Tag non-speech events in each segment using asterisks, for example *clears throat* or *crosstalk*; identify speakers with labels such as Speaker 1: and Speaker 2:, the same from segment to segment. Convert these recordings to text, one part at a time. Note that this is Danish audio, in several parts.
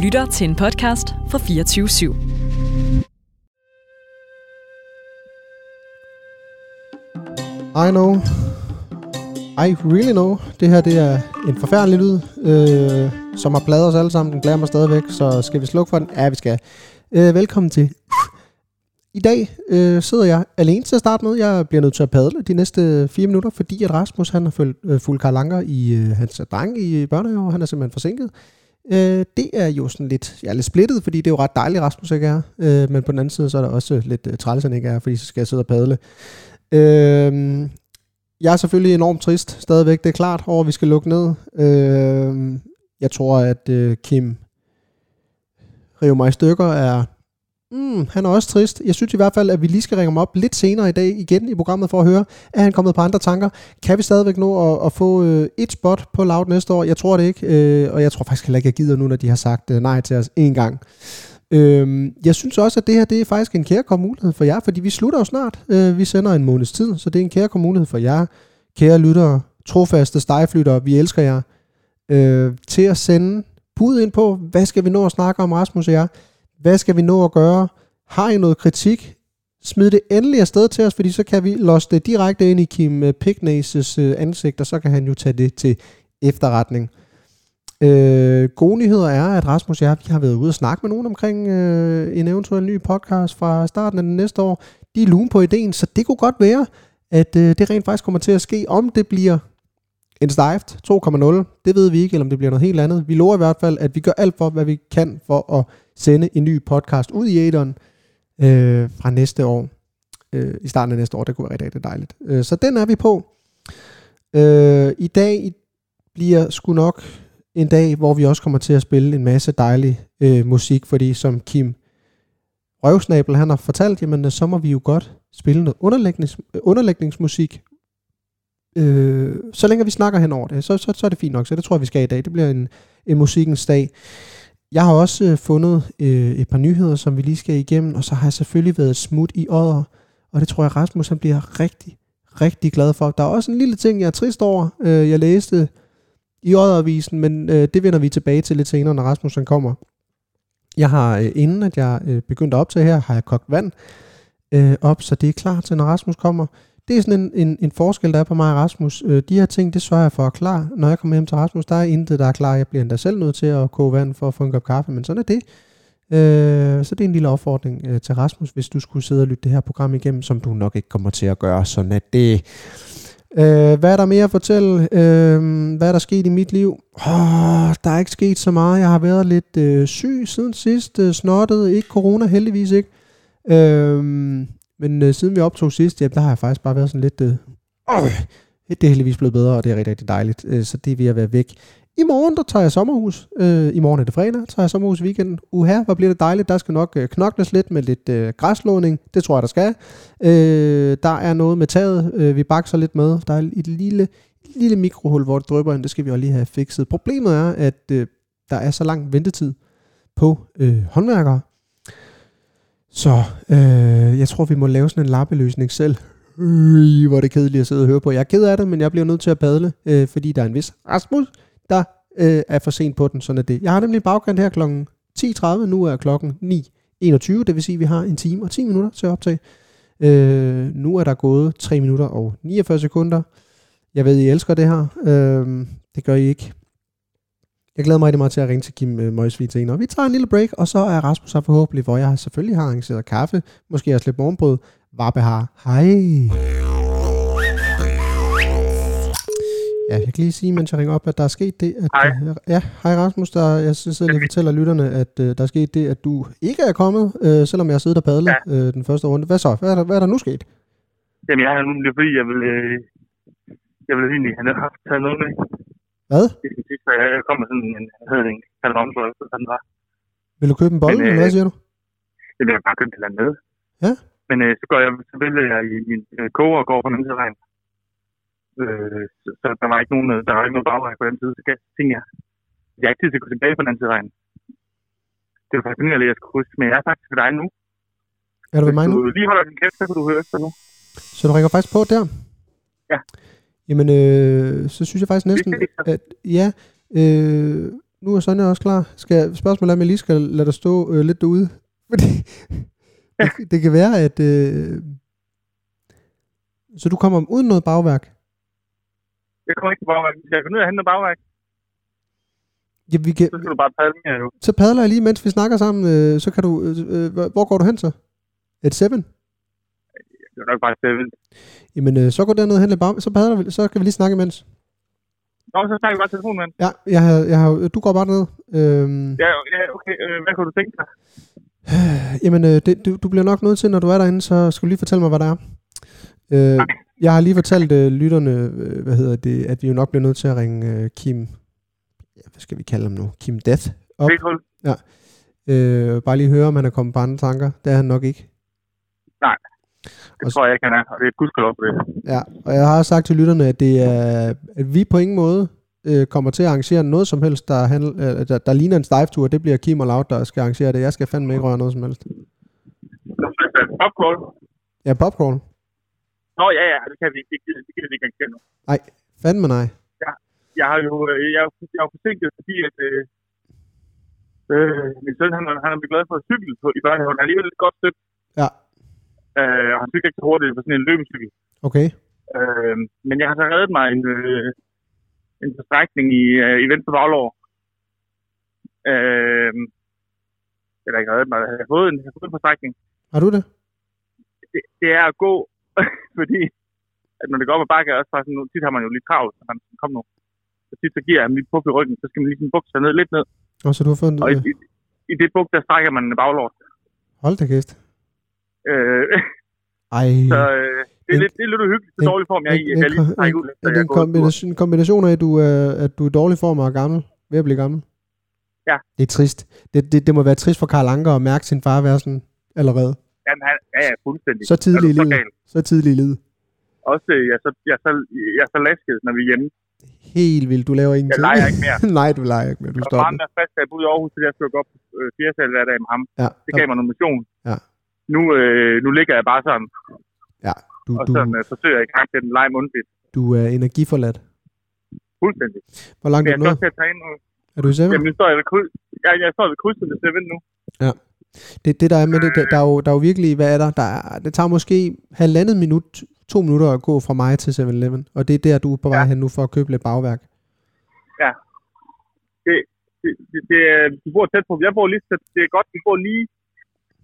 Speaker 1: lytter til en podcast fra 24 /7.
Speaker 2: I know. I really know. Det her det er en forfærdelig lyd, øh, som har pladet os alle sammen. Den plader mig stadigvæk, så skal vi slukke for den? Ja, vi skal. Øh, velkommen til. I dag øh, sidder jeg alene til at starte med. Jeg bliver nødt til at padle de næste fire minutter, fordi at Rasmus han har fulgt, øh, fulgt Karl Anker i øh, hans dreng i børnehave, og han er simpelthen forsinket. Øh, det er jo sådan lidt, jeg er lidt splittet, fordi det er jo ret dejligt, Rasmus ikke er. Øh, men på den anden side, så er der også lidt øh, træls, han ikke er, fordi så skal jeg sidde og padle. Øh, jeg er selvfølgelig enormt trist stadigvæk, det er klart, over at vi skal lukke ned. Øh, jeg tror, at øh, Kim river mig i stykker er... Mm, han er også trist. Jeg synes i hvert fald, at vi lige skal ringe ham op lidt senere i dag igen i programmet for at høre, er han kommet på andre tanker? Kan vi stadigvæk nå at, at få øh, et spot på Loud næste år? Jeg tror det ikke, øh, og jeg tror faktisk heller ikke, jeg gider nu, når de har sagt øh, nej til os en gang. Øhm, jeg synes også, at det her det er faktisk en kærkom mulighed for jer, fordi vi slutter jo snart. Øh, vi sender en måneds tid, så det er en kærkom mulighed for jer, kære lyttere, trofaste stejflyttere, vi elsker jer, øh, til at sende bud ind på, hvad skal vi nå at snakke om, Rasmus og jeg? Hvad skal vi nå at gøre? Har I noget kritik? Smid det endelig afsted til os, fordi så kan vi losse det direkte ind i Kim øh, Pignaces øh, ansigt, og så kan han jo tage det til efterretning. Øh, gode nyheder er, at Rasmus og jeg vi har været ude og snakke med nogen omkring øh, en eventuel ny podcast fra starten af næste år. De er lune på ideen, så det kunne godt være, at øh, det rent faktisk kommer til at ske, om det bliver en stejft 2,0. Det ved vi ikke, eller om det bliver noget helt andet. Vi lover i hvert fald, at vi gør alt for, hvad vi kan for at sende en ny podcast ud i æderen øh, fra næste år. Øh, I starten af næste år, det kunne være rigtig, rigtig dejligt. Øh, så den er vi på. Øh, I dag bliver sgu nok en dag, hvor vi også kommer til at spille en masse dejlig øh, musik, fordi som Kim Røvsnabel han har fortalt, jamen øh, så må vi jo godt spille noget underlægnings, øh, underlægningsmusik. Øh, så længe vi snakker hen over det, så, så, så er det fint nok, så det tror jeg, vi skal i dag. Det bliver en, en musikkens dag. Jeg har også øh, fundet øh, et par nyheder, som vi lige skal igennem, og så har jeg selvfølgelig været et smut i ådder, og det tror jeg, Rasmus han bliver rigtig, rigtig glad for. Der er også en lille ting, jeg er trist over. Øh, jeg læste øh, i Odderavisen, men øh, det vender vi tilbage til lidt senere, når Rasmus han kommer. Jeg har, øh, inden at jeg øh, begyndte at optage her, har jeg kogt vand øh, op, så det er klar til, når Rasmus kommer. Det er sådan en, en, en forskel, der er på mig og Rasmus. Øh, de her ting, det sørger jeg for at klar. Når jeg kommer hjem til Rasmus, der er intet, der er klar. Jeg bliver endda selv nødt til at koge vand for at få en kop kaffe, men sådan er det. Øh, så det er en lille opfordring øh, til Rasmus, hvis du skulle sidde og lytte det her program igennem, som du nok ikke kommer til at gøre. Sådan er det. Øh, hvad er der mere at fortælle? Øh, hvad er der sket i mit liv? Oh, der er ikke sket så meget. Jeg har været lidt øh, syg siden sidst. Øh, snottet. Ikke corona, heldigvis ikke. Øh, men øh, siden vi optog sidst, ja, der har jeg faktisk bare været sådan lidt... Øh, øh, det er heldigvis blevet bedre, og det er rigtig, rigtig dejligt. Øh, så det vil jeg være væk. I morgen, der tager jeg sommerhus. Øh, I morgen er det fredag, tager jeg sommerhus i weekenden. Uha, hvor bliver det dejligt. Der skal nok øh, knokles lidt med lidt øh, græslåning. Det tror jeg, der skal. Øh, der er noget med taget, øh, vi bakser lidt med. Der er et lille, lille mikrohul, hvor det drypper ind. Det skal vi også lige have fikset. Problemet er, at øh, der er så lang ventetid på øh, håndværkere. Så øh, jeg tror, vi må lave sådan en lappeløsning selv. Øh, hvor er det kedeligt at sidde og høre på. Jeg er ked af det, men jeg bliver nødt til at padle, øh, fordi der er en vis Rasmus, der øh, er for sent på den. Sådan er det. Jeg har nemlig en bagkant her klokken 10.30. Nu er klokken 9.21. Det vil sige, at vi har en time og 10 minutter til at optage. Øh, nu er der gået 3 minutter og 49 sekunder. Jeg ved, I elsker det her. Øh, det gør I ikke. Jeg glæder mig rigtig meget til at ringe til Kim øh, Møjsvig senere. Vi tager en lille break, og så er Rasmus her forhåbentlig, hvor jeg har- selvfølgelig har arrangeret kaffe, måske også lidt morgenbrød. Vappe har. Hej. Ja, jeg kan lige sige, mens jeg ringer op, at der er sket det, at...
Speaker 3: Hej.
Speaker 2: øh, Ja, hej Rasmus. Der, jeg sidder lige og fortæller lytterne, at øh, der er sket det, at du ikke er kommet, øh, selvom jeg har siddet og padlet øh, den første runde. Hvad så? Hvad er der, hvad er der nu sket?
Speaker 3: Jamen, jeg har nu det er fordi, jeg vil, øh, jeg vil egentlig have haft taget noget med.
Speaker 2: Hvad?
Speaker 3: Det er sidst, jeg, jeg kom med sådan en, jeg havde en kalderomsvold, så sådan var.
Speaker 2: Vil du købe en bolle,
Speaker 3: Men, øh,
Speaker 2: eller hvad siger du?
Speaker 3: Det blev jeg bare købt et eller andet med.
Speaker 2: Ja.
Speaker 3: Men øh, så går jeg, så vælger jeg i min øh, koger og går på den anden side af vejen. Øh, så, så, der var ikke nogen, øh, der var ikke noget bagvej på den side, så gav- tænkte jeg, jeg har ikke tid til at gå tilbage på den anden side af vejen. Det var fascinerende, at jeg skulle huske, men jeg er faktisk ved dig nu.
Speaker 2: Er du ved mig
Speaker 3: Hvis
Speaker 2: nu?
Speaker 3: du lige holder din kæft, så kan du høre efter nu.
Speaker 2: Så du ringer faktisk på der?
Speaker 3: Ja.
Speaker 2: Jamen, øh, så synes jeg faktisk næsten,
Speaker 3: ses så.
Speaker 2: at ja, øh, nu er Sonja også klar. Skal, spørgsmålet er, om jeg lige skal lade dig stå øh, lidt derude. *laughs* Fordi det, det kan være, at... Øh, så du kommer uden noget bagværk.
Speaker 4: Jeg kommer ikke til bagværk. Hvis jeg kan ud og hente bagværk,
Speaker 2: Ja, vi kan,
Speaker 4: så skal du bare padle mere nu.
Speaker 2: så padler jeg lige, mens vi snakker sammen. Øh, så kan du... Øh, øh, hvor- hvor går du hen så? Et 7?
Speaker 4: Det er nok bare stedet.
Speaker 2: Jamen, øh, så går derned og hente bag, så padler vi, så kan vi lige snakke imens.
Speaker 4: Nå, så snakker vi bare telefonen, mand.
Speaker 2: Ja, jeg har, jeg har, du går bare ned. Øhm,
Speaker 4: Ja, ja, okay. Øh, hvad kunne du tænke dig?
Speaker 2: Jamen, øh, det, du, du bliver nok nødt til, når du er derinde, så skal du lige fortælle mig, hvad der er. Øh, jeg har lige fortalt øh, lytterne, øh, hvad hedder det, at vi jo nok bliver nødt til at ringe øh, Kim, ja, hvad skal vi kalde ham nu? Kim Death. Op.
Speaker 4: Vildt hul.
Speaker 2: Øh, bare lige høre, om han er kommet på andre tanker. Det er han nok ikke.
Speaker 4: Det
Speaker 2: Og s-
Speaker 4: tror jeg ikke, han er. Og det er gudskelov for det.
Speaker 2: Ja, og jeg har også sagt til lytterne, at, det er, at vi på ingen måde øh, kommer til at arrangere noget som helst, der, handl, øh, der, der ligner en stejftur. Det bliver Kim og Laud, der skal arrangere det. Jeg skal fandme ikke røre noget som helst.
Speaker 4: Så skal jeg tage Popcorn.
Speaker 2: Ja, popcorn.
Speaker 4: Nå, ja, ja, det kan vi ikke. Det gider, det gider vi ikke engang kende.
Speaker 2: Nej, fandme nej.
Speaker 4: Jeg har jo øh, jeg, er jo- jeg er jo forsinket, fordi at, øh, øh, min søn, han, er- han er blevet glad for at cykle på, i børnehaven. Han er alligevel et godt stykke.
Speaker 2: Ja,
Speaker 4: Øh, og han cykler ikke så hurtigt på sådan en løbecykel.
Speaker 2: okay.
Speaker 4: Øh, men jeg har så reddet mig en, øh, en forstrækning i, øh, i venstre baglår. Øh, eller ikke reddet mig, jeg har fået en, jeg har fået en forstrækning.
Speaker 2: Har du det?
Speaker 4: Det, det er at gå, *laughs* fordi at når det går op ad bakke, er jeg også bare sådan, nu, tit har man jo lidt travlt, når man kom nu. Så tit så giver jeg ham lige på i ryggen, så skal man lige sådan bukse sig ned, lidt ned.
Speaker 2: Og så du har fået en...
Speaker 4: Og i,
Speaker 2: Øh,
Speaker 4: i, i det buk, der strækker man baglåret.
Speaker 2: hold da kæft.
Speaker 4: Øh, *laughs*
Speaker 2: Ej,
Speaker 4: så øh, det, er
Speaker 2: En-
Speaker 4: lidt, det er lidt uhyggeligt, så
Speaker 2: en-
Speaker 4: dårlig form jeg er i,
Speaker 2: en-
Speaker 4: at jeg lige
Speaker 2: en-
Speaker 4: strækker ud. efter
Speaker 2: er det
Speaker 4: jeg
Speaker 2: en
Speaker 4: er gået en tur.
Speaker 2: kombination, en kombination af, at du, øh, at du er i dårlig form og er gammel? Ved at blive gammel?
Speaker 4: Ja.
Speaker 2: Det er trist. Det, det, det må være trist for Karl Anker at mærke sin far være sådan allerede.
Speaker 4: Jamen, han ja, ja, fuldstændig.
Speaker 2: Så tidlig i
Speaker 4: Er du så
Speaker 2: livet.
Speaker 4: gal?
Speaker 2: Så tidlig i livet.
Speaker 4: også, øh, jeg er så, jeg er så, jeg er så lasket, når vi er hjemme.
Speaker 2: Helt vildt. Du laver ingenting.
Speaker 4: leger ikke mere.
Speaker 2: *laughs* Nej, du leger ikke mere. Du
Speaker 4: Og
Speaker 2: stopper.
Speaker 4: faren er fast, at jeg boede i Aarhus, så jeg skulle gå op på øh, fjerde sal hver dag med ham.
Speaker 2: Ja.
Speaker 4: Det gav mig noget motion.
Speaker 2: Ja.
Speaker 4: Nu, øh, nu ligger jeg bare sådan,
Speaker 2: ja. Du,
Speaker 4: og
Speaker 2: du,
Speaker 4: sådan øh, forsøger jeg i gang til den leg mundtligt.
Speaker 2: du er energiforladt.
Speaker 4: Fuldstændig.
Speaker 2: Hvor langt er
Speaker 4: Men jeg
Speaker 2: du
Speaker 4: skal
Speaker 2: nået?
Speaker 4: også til at træne nu.
Speaker 2: Er du i seven?
Speaker 4: Jamen, nu står jeg ved, kryds, ja, jeg står ved krydset ved Seven nu.
Speaker 2: Det, det der er med det, der, der, er jo, der er jo virkelig, hvad er der? der er, det tager måske halvandet minut, to minutter at gå fra mig til 7-Eleven. Og det er der, du er på vej
Speaker 4: Ja.
Speaker 2: hen nu for at købe lidt bagværk.
Speaker 4: Det, det, det, er- vi bor tæt på. Jeg bor lige tæt. Det er godt. Vi bor lige,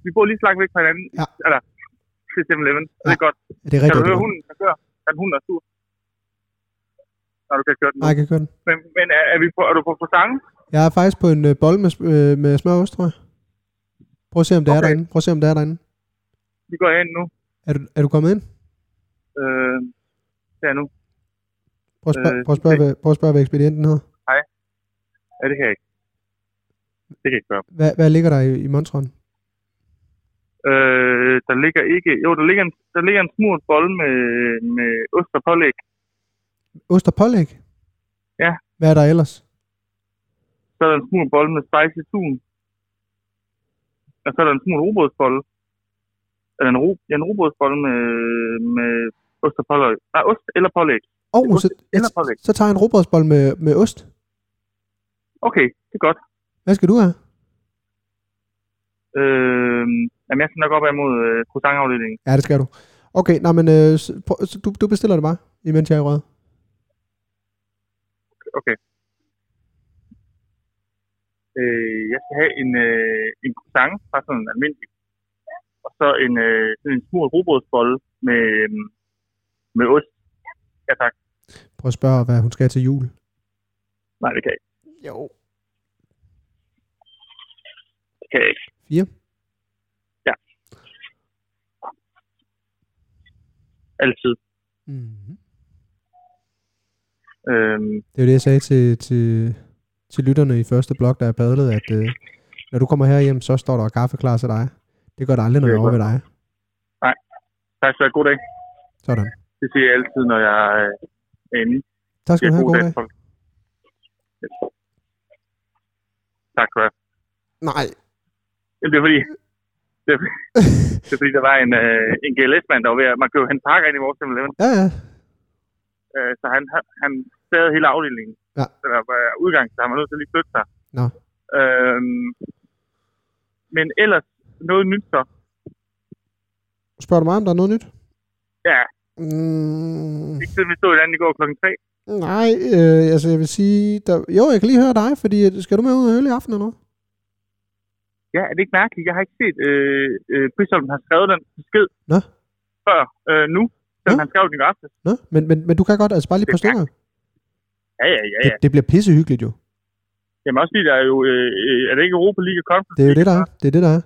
Speaker 4: vi bor lige så langt væk fra hinanden.
Speaker 2: Ja.
Speaker 4: Eller, til 7-Eleven. Så Det er godt.
Speaker 2: Er det
Speaker 4: Kan du
Speaker 2: rigtigt?
Speaker 4: høre hunden, der kører? Kan hunden er sur? Når du kan køre den.
Speaker 2: Nej, jeg kan køre den.
Speaker 4: Men, men er, er, vi på, er du på croissant?
Speaker 2: Jeg er faktisk på en øh, bolle med, sm- øh, med smør og ost, tror jeg. Prøv at se, om det okay. er
Speaker 4: Okay.
Speaker 2: derinde. Prøv at se, om det er derinde.
Speaker 4: Vi går ind nu.
Speaker 2: Er du, er du kommet ind?
Speaker 4: Øh, der nu.
Speaker 2: Prøv at spørge,
Speaker 4: Øh,
Speaker 2: prøv at spørge, hvad, prøv at spørge hvad ekspedienten hedder.
Speaker 4: Ja, det kan jeg ikke. Det kan jeg ikke gøre.
Speaker 2: Hvad, hvad ligger der i, i montron?
Speaker 4: Øh, der ligger ikke... Jo, der ligger en, der ligger en smurt bolle med, med ost og pålæg.
Speaker 2: Ost og pålæg?
Speaker 4: Ja.
Speaker 2: Hvad er der ellers?
Speaker 4: Så er der en smurt bolle med spicy tun. Og så er der en smurt robrødsbolle. Eller en, ro, ja, en robrødsbolle med, med ost og pålæg. Nej, ost eller pålæg.
Speaker 2: Åh, oh,
Speaker 4: Ost
Speaker 2: så, jeg,
Speaker 4: eller pålæg.
Speaker 2: så tager jeg en robrødsbold med, med ost.
Speaker 4: Okay, det er godt.
Speaker 2: Hvad skal du have?
Speaker 4: Øh, jamen, jeg skal nok op ad mod øh, croissantafdelingen.
Speaker 2: Ja, det skal du. Okay, nej, men øh, s- prøv, så du, du bestiller det bare, imens jeg er i rød.
Speaker 4: Okay. Øh, jeg skal have en, øh, en croissant, bare sådan en almindelig. Og så en, øh, sådan en smurt robrødsbolle med, øhm, med ost. Ja, tak.
Speaker 2: Prøv at spørge, hvad hun skal til jul.
Speaker 4: Nej, det kan jeg ikke.
Speaker 2: Jo.
Speaker 4: Det kan jeg ikke.
Speaker 2: Fire.
Speaker 4: Altid.
Speaker 2: Mm-hmm.
Speaker 4: Øhm,
Speaker 2: Det er jo det, jeg sagde til, til, til lytterne i første blog, der er padlet, at øh, når du kommer herhjem, så står der kaffe klar til dig. Det gør der aldrig, når jeg er over ved dig.
Speaker 4: tak skal du have. God dag.
Speaker 2: Sådan.
Speaker 4: Det siger jeg altid, når jeg øh, er inde.
Speaker 2: Tak
Speaker 4: Det
Speaker 2: skal du
Speaker 4: er
Speaker 2: have.
Speaker 4: god dag.
Speaker 2: dag.
Speaker 4: til folk. Ja. Tak skal du have.
Speaker 2: Nej. *laughs*
Speaker 4: Jamen, det er fordi, det er, det er fordi, der var en, øh, en GLS-mand, der var ved at, man kan jo hente pakker ind i vores 7-Eleven.
Speaker 2: Ja, ja.
Speaker 4: Øh, så han, han- han stadig hele afdelingen.
Speaker 2: Ja.
Speaker 4: Så der var udgang, så han var nødt til at lige flytte sig.
Speaker 2: Nå.
Speaker 3: Øhm, men ellers noget nyt så.
Speaker 2: Spørger du mig, om der er noget nyt?
Speaker 3: Ja.
Speaker 2: Mm,
Speaker 3: Ikke siden vi stod i landet i går klokken 3.
Speaker 2: nej, øh, altså jeg vil sige... Der, jo, jeg kan lige høre dig, fordi øh, skal du med ud og øl i aften eller noget?
Speaker 3: Ja, er det ikke mærkeligt? Jeg har ikke set, øh, øh, Prisholm har skrevet den besked
Speaker 2: Nå.
Speaker 3: før øh, nu, selvom
Speaker 2: Nå.
Speaker 3: han skrev den i går aftes.
Speaker 2: Nå? Men, men, men du kan godt, altså bare lige
Speaker 3: Det
Speaker 2: på
Speaker 3: er
Speaker 2: stykker.
Speaker 3: Ja, ja, ja, ja.
Speaker 2: Det, det bliver pissehyggeligt jo.
Speaker 3: Jamen også fordi, der er jo, øh, øh, er det ikke Europa League og Conference
Speaker 2: Det er jo det, der er. Det er det, der er.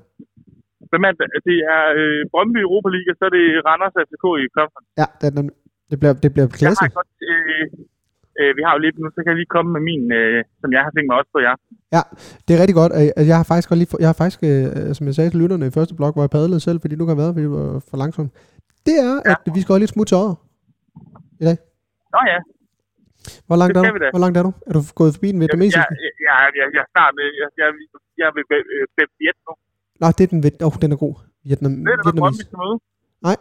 Speaker 3: Hvem er det? Det er øh, Brøndby i Europa League, og så er det Randers og FCK i Conference.
Speaker 2: Ja, det, er nemlig- det bliver, det bliver
Speaker 3: Jeg
Speaker 2: klasse.
Speaker 3: har godt, øh, øh, vi har jo lidt nu, så kan jeg lige komme med min, øh, som jeg har tænkt mig også på jer.
Speaker 2: Det er rigtig godt. øh, at Jeg har faktisk, godt lige, få- jeg har faktisk øh, som jeg sagde til lytterne i første blok, hvor jeg padlede selv, fordi nu kan jeg være, fordi det var for langsomt. Det er,
Speaker 3: Ja.
Speaker 2: at vi skal holde lidt smut til Odder.
Speaker 3: Nå ja,
Speaker 2: Hvor langt,
Speaker 3: Det
Speaker 2: er
Speaker 3: skal
Speaker 2: du?
Speaker 3: vi da.
Speaker 2: Hvor langt er du? Er du gået forbi den
Speaker 3: jeg,
Speaker 2: vietnamesiske?
Speaker 3: jeg, jeg, jeg, jeg, jeg, er snart, øh, jeg, jeg, jeg vil øh, Beb Viet nu.
Speaker 2: Nå, det er den viet... Oh, den er god. Vietnam...
Speaker 3: Ved du, hvad Brøndby
Speaker 2: Vietnamis.
Speaker 3: skal møde?
Speaker 2: Nej.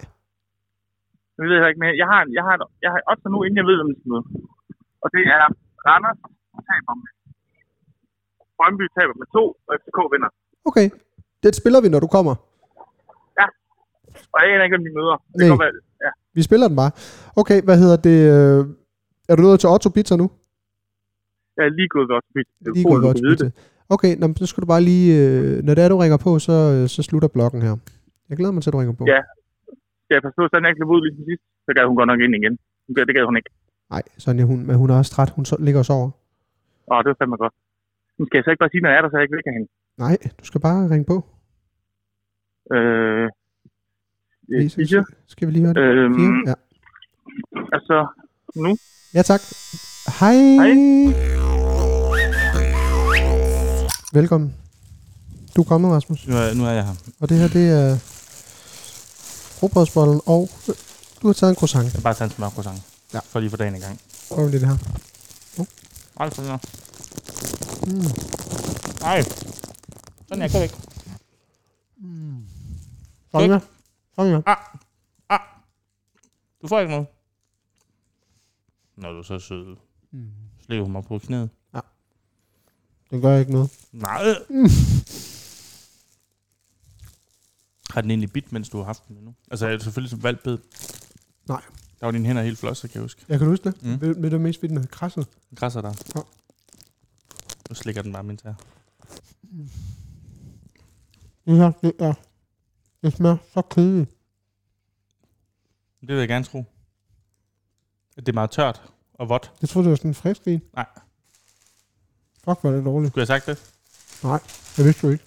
Speaker 3: Jeg ved heller ikke mere. Jeg har, en- jeg har, en- jeg har også nu, inden jeg ved, hvem vi skal møde. Og det er Randers taber med. Brøndby taber med to, og FCK vinder.
Speaker 2: Okay. Det spiller vi, når du kommer.
Speaker 3: Og jeg aner ikke, hvem de møder. Det
Speaker 2: Nej.
Speaker 3: kan godt være,
Speaker 2: Vi spiller den bare. Okay, hvad hedder det? øh, Er du nået til Otto Pizza nu?
Speaker 3: jeg er lige gået ved Otto Pizza. Det er
Speaker 2: Lige
Speaker 3: utroligt, du
Speaker 2: gået Otto
Speaker 3: kan vide det.
Speaker 2: Pizza. Okay, nå, men så skal du bare lige... øh, Når det er, du ringer på, så, øh, så slutter blokken her. Jeg glæder mig til, at du ringer på.
Speaker 3: Ja. Skal jeg forstå, sådan jeg ikke løb ud ligesom sidst? Så gad hun godt nok ind igen. Hun gad- Det gad hun ikke.
Speaker 2: Nej, Sonja, hun, men hun er også træt. Hun so- ligger og sover.
Speaker 3: Åh, det var fandme godt. Nu skal jeg så ikke bare sige, når jeg er der, så jeg ikke vækker hende.
Speaker 2: Nej, du skal bare ringe på.
Speaker 3: Øh, øh,
Speaker 2: Lige så-
Speaker 3: Fischer,
Speaker 2: Skal vi lige høre det?
Speaker 3: Øhm.
Speaker 2: Fire? Ja.
Speaker 3: altså, nu.
Speaker 2: ja, tak. Hej.
Speaker 3: Hej.
Speaker 2: Velkommen. Du er kommet, Rasmus.
Speaker 4: Nu er, nu er jeg her.
Speaker 2: Og det her, det er robrødsbollen, og du har taget en croissant.
Speaker 4: Jeg har bare taget en smør croissant.
Speaker 2: Ja.
Speaker 4: For lige for dagen i gang.
Speaker 2: Prøv lige det her.
Speaker 4: Ej, sådan her.
Speaker 2: Mm.
Speaker 4: Ej. Sådan er jeg væk.
Speaker 2: Sonja. Sonja.
Speaker 4: Ah. Du får ikke noget. Nå, du er så sød.
Speaker 2: Mm.
Speaker 4: Slæver mig på knæet.
Speaker 2: Det gør ikke noget.
Speaker 4: Nej.
Speaker 2: Mm.
Speaker 4: Har den egentlig bidt, mens du har haft den endnu? Altså, er det selvfølgelig som valgbed?
Speaker 2: Nej.
Speaker 4: Der var dine hænder helt flosset, kan jeg huske.
Speaker 2: Jeg kan du huske det.
Speaker 4: Mm.
Speaker 2: Ved, ved du mest, fordi den havde krasset?
Speaker 4: Den krasser der.
Speaker 2: Ja.
Speaker 4: Nu slikker den bare min tær.
Speaker 2: Det her, det er... Det smager så kedeligt.
Speaker 4: Det vil jeg gerne tro. At det er meget tørt og vådt.
Speaker 2: Jeg troede, det var sådan en frisk vin.
Speaker 4: Nej.
Speaker 2: Fuck, hvor er det dårligt.
Speaker 4: Skulle jeg have sagt det?
Speaker 2: Det vidste du ikke.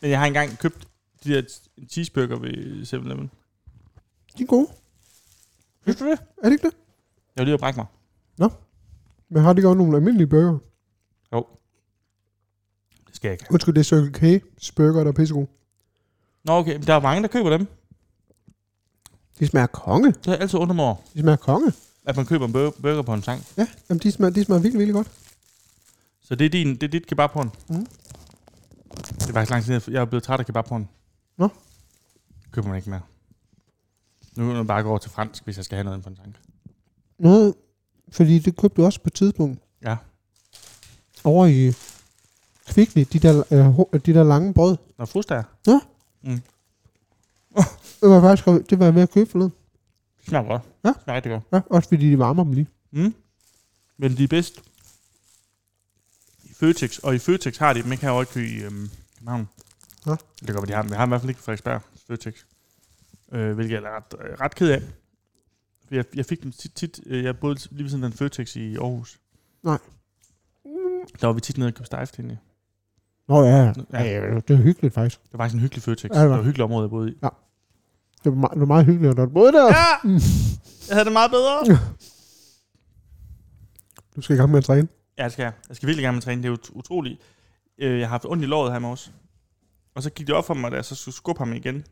Speaker 4: Men jeg har engang købt de der cheeseburger ved 7-Eleven.
Speaker 2: De er gode.
Speaker 4: Synes du det?
Speaker 2: Er det ikke det?
Speaker 4: Jeg var lige oppe og brække mig.
Speaker 2: Men har de ikke også nogle almindelige burger?
Speaker 4: Det skal jeg ikke.
Speaker 2: Undskyld, det er Circle K's burger, der er pissegod.
Speaker 4: Nå, okay. Men der er mange, der køber dem.
Speaker 2: De smager konge.
Speaker 4: Det har jeg altid undret mig over,
Speaker 2: De smager konge.
Speaker 4: at man køber en bur- burger på en tank.
Speaker 2: Ja, jamen, de smager, de smager virkelig, virkelig godt.
Speaker 4: Så det er, din, det er dit kebabhorn.
Speaker 2: Mhm.
Speaker 4: Mm. Det er faktisk lang tid, siden, jeg er blevet træt af kebabhorn.
Speaker 2: Nå.
Speaker 4: Køber man ikke mere. Nu kan man bare gå over til fransk, hvis jeg skal have noget ind på en tank.
Speaker 2: Noget, fordi det købte du også på et tidspunkt.
Speaker 4: Ja.
Speaker 2: Over i Kvickly, de der, øh, ho- de der lange brød.
Speaker 4: Nå, frustager.
Speaker 2: Det var jeg faktisk, det var jeg ved at købe forleden.
Speaker 4: Det smager godt.
Speaker 2: Ja.
Speaker 4: Det smager rigtig godt.
Speaker 2: Ja, også fordi de varmer dem lige.
Speaker 4: Mm. Men de er bedst i Føtex. Og i Føtex har de dem ikke herovre i øhm, København.
Speaker 2: Nå.
Speaker 4: Det gør, de har dem. Jeg har dem i hvert fald ikke i Frederiksberg Føtex. Øh, hvilket jeg er ret, øh, ret ked af. For jeg, jeg fik dem tit, tit øh, jeg boede lige ved siden af en Føtex i Aarhus.
Speaker 2: Nej.
Speaker 4: Der var vi tit nede og købte stejft egentlig.
Speaker 2: Nå ja, ja.
Speaker 4: Ja.
Speaker 2: ja, ja det er hyggeligt faktisk.
Speaker 4: Det var faktisk en hyggelig Føtex.
Speaker 2: Ja, det var.
Speaker 4: det var et hyggeligt område, jeg boede i.
Speaker 2: Det var, meget, det var meget hyggeligt, at der var både der.
Speaker 4: Ja! Jeg havde det meget bedre.
Speaker 2: Du skal i gang med at træne.
Speaker 4: Ja, det skal jeg. Jeg skal virkelig gerne med træne. Det er ut- utroligt. Øh, jeg har haft ondt i låret her i morges. Og så gik det op for mig, da jeg så skulle skubbe ham igen.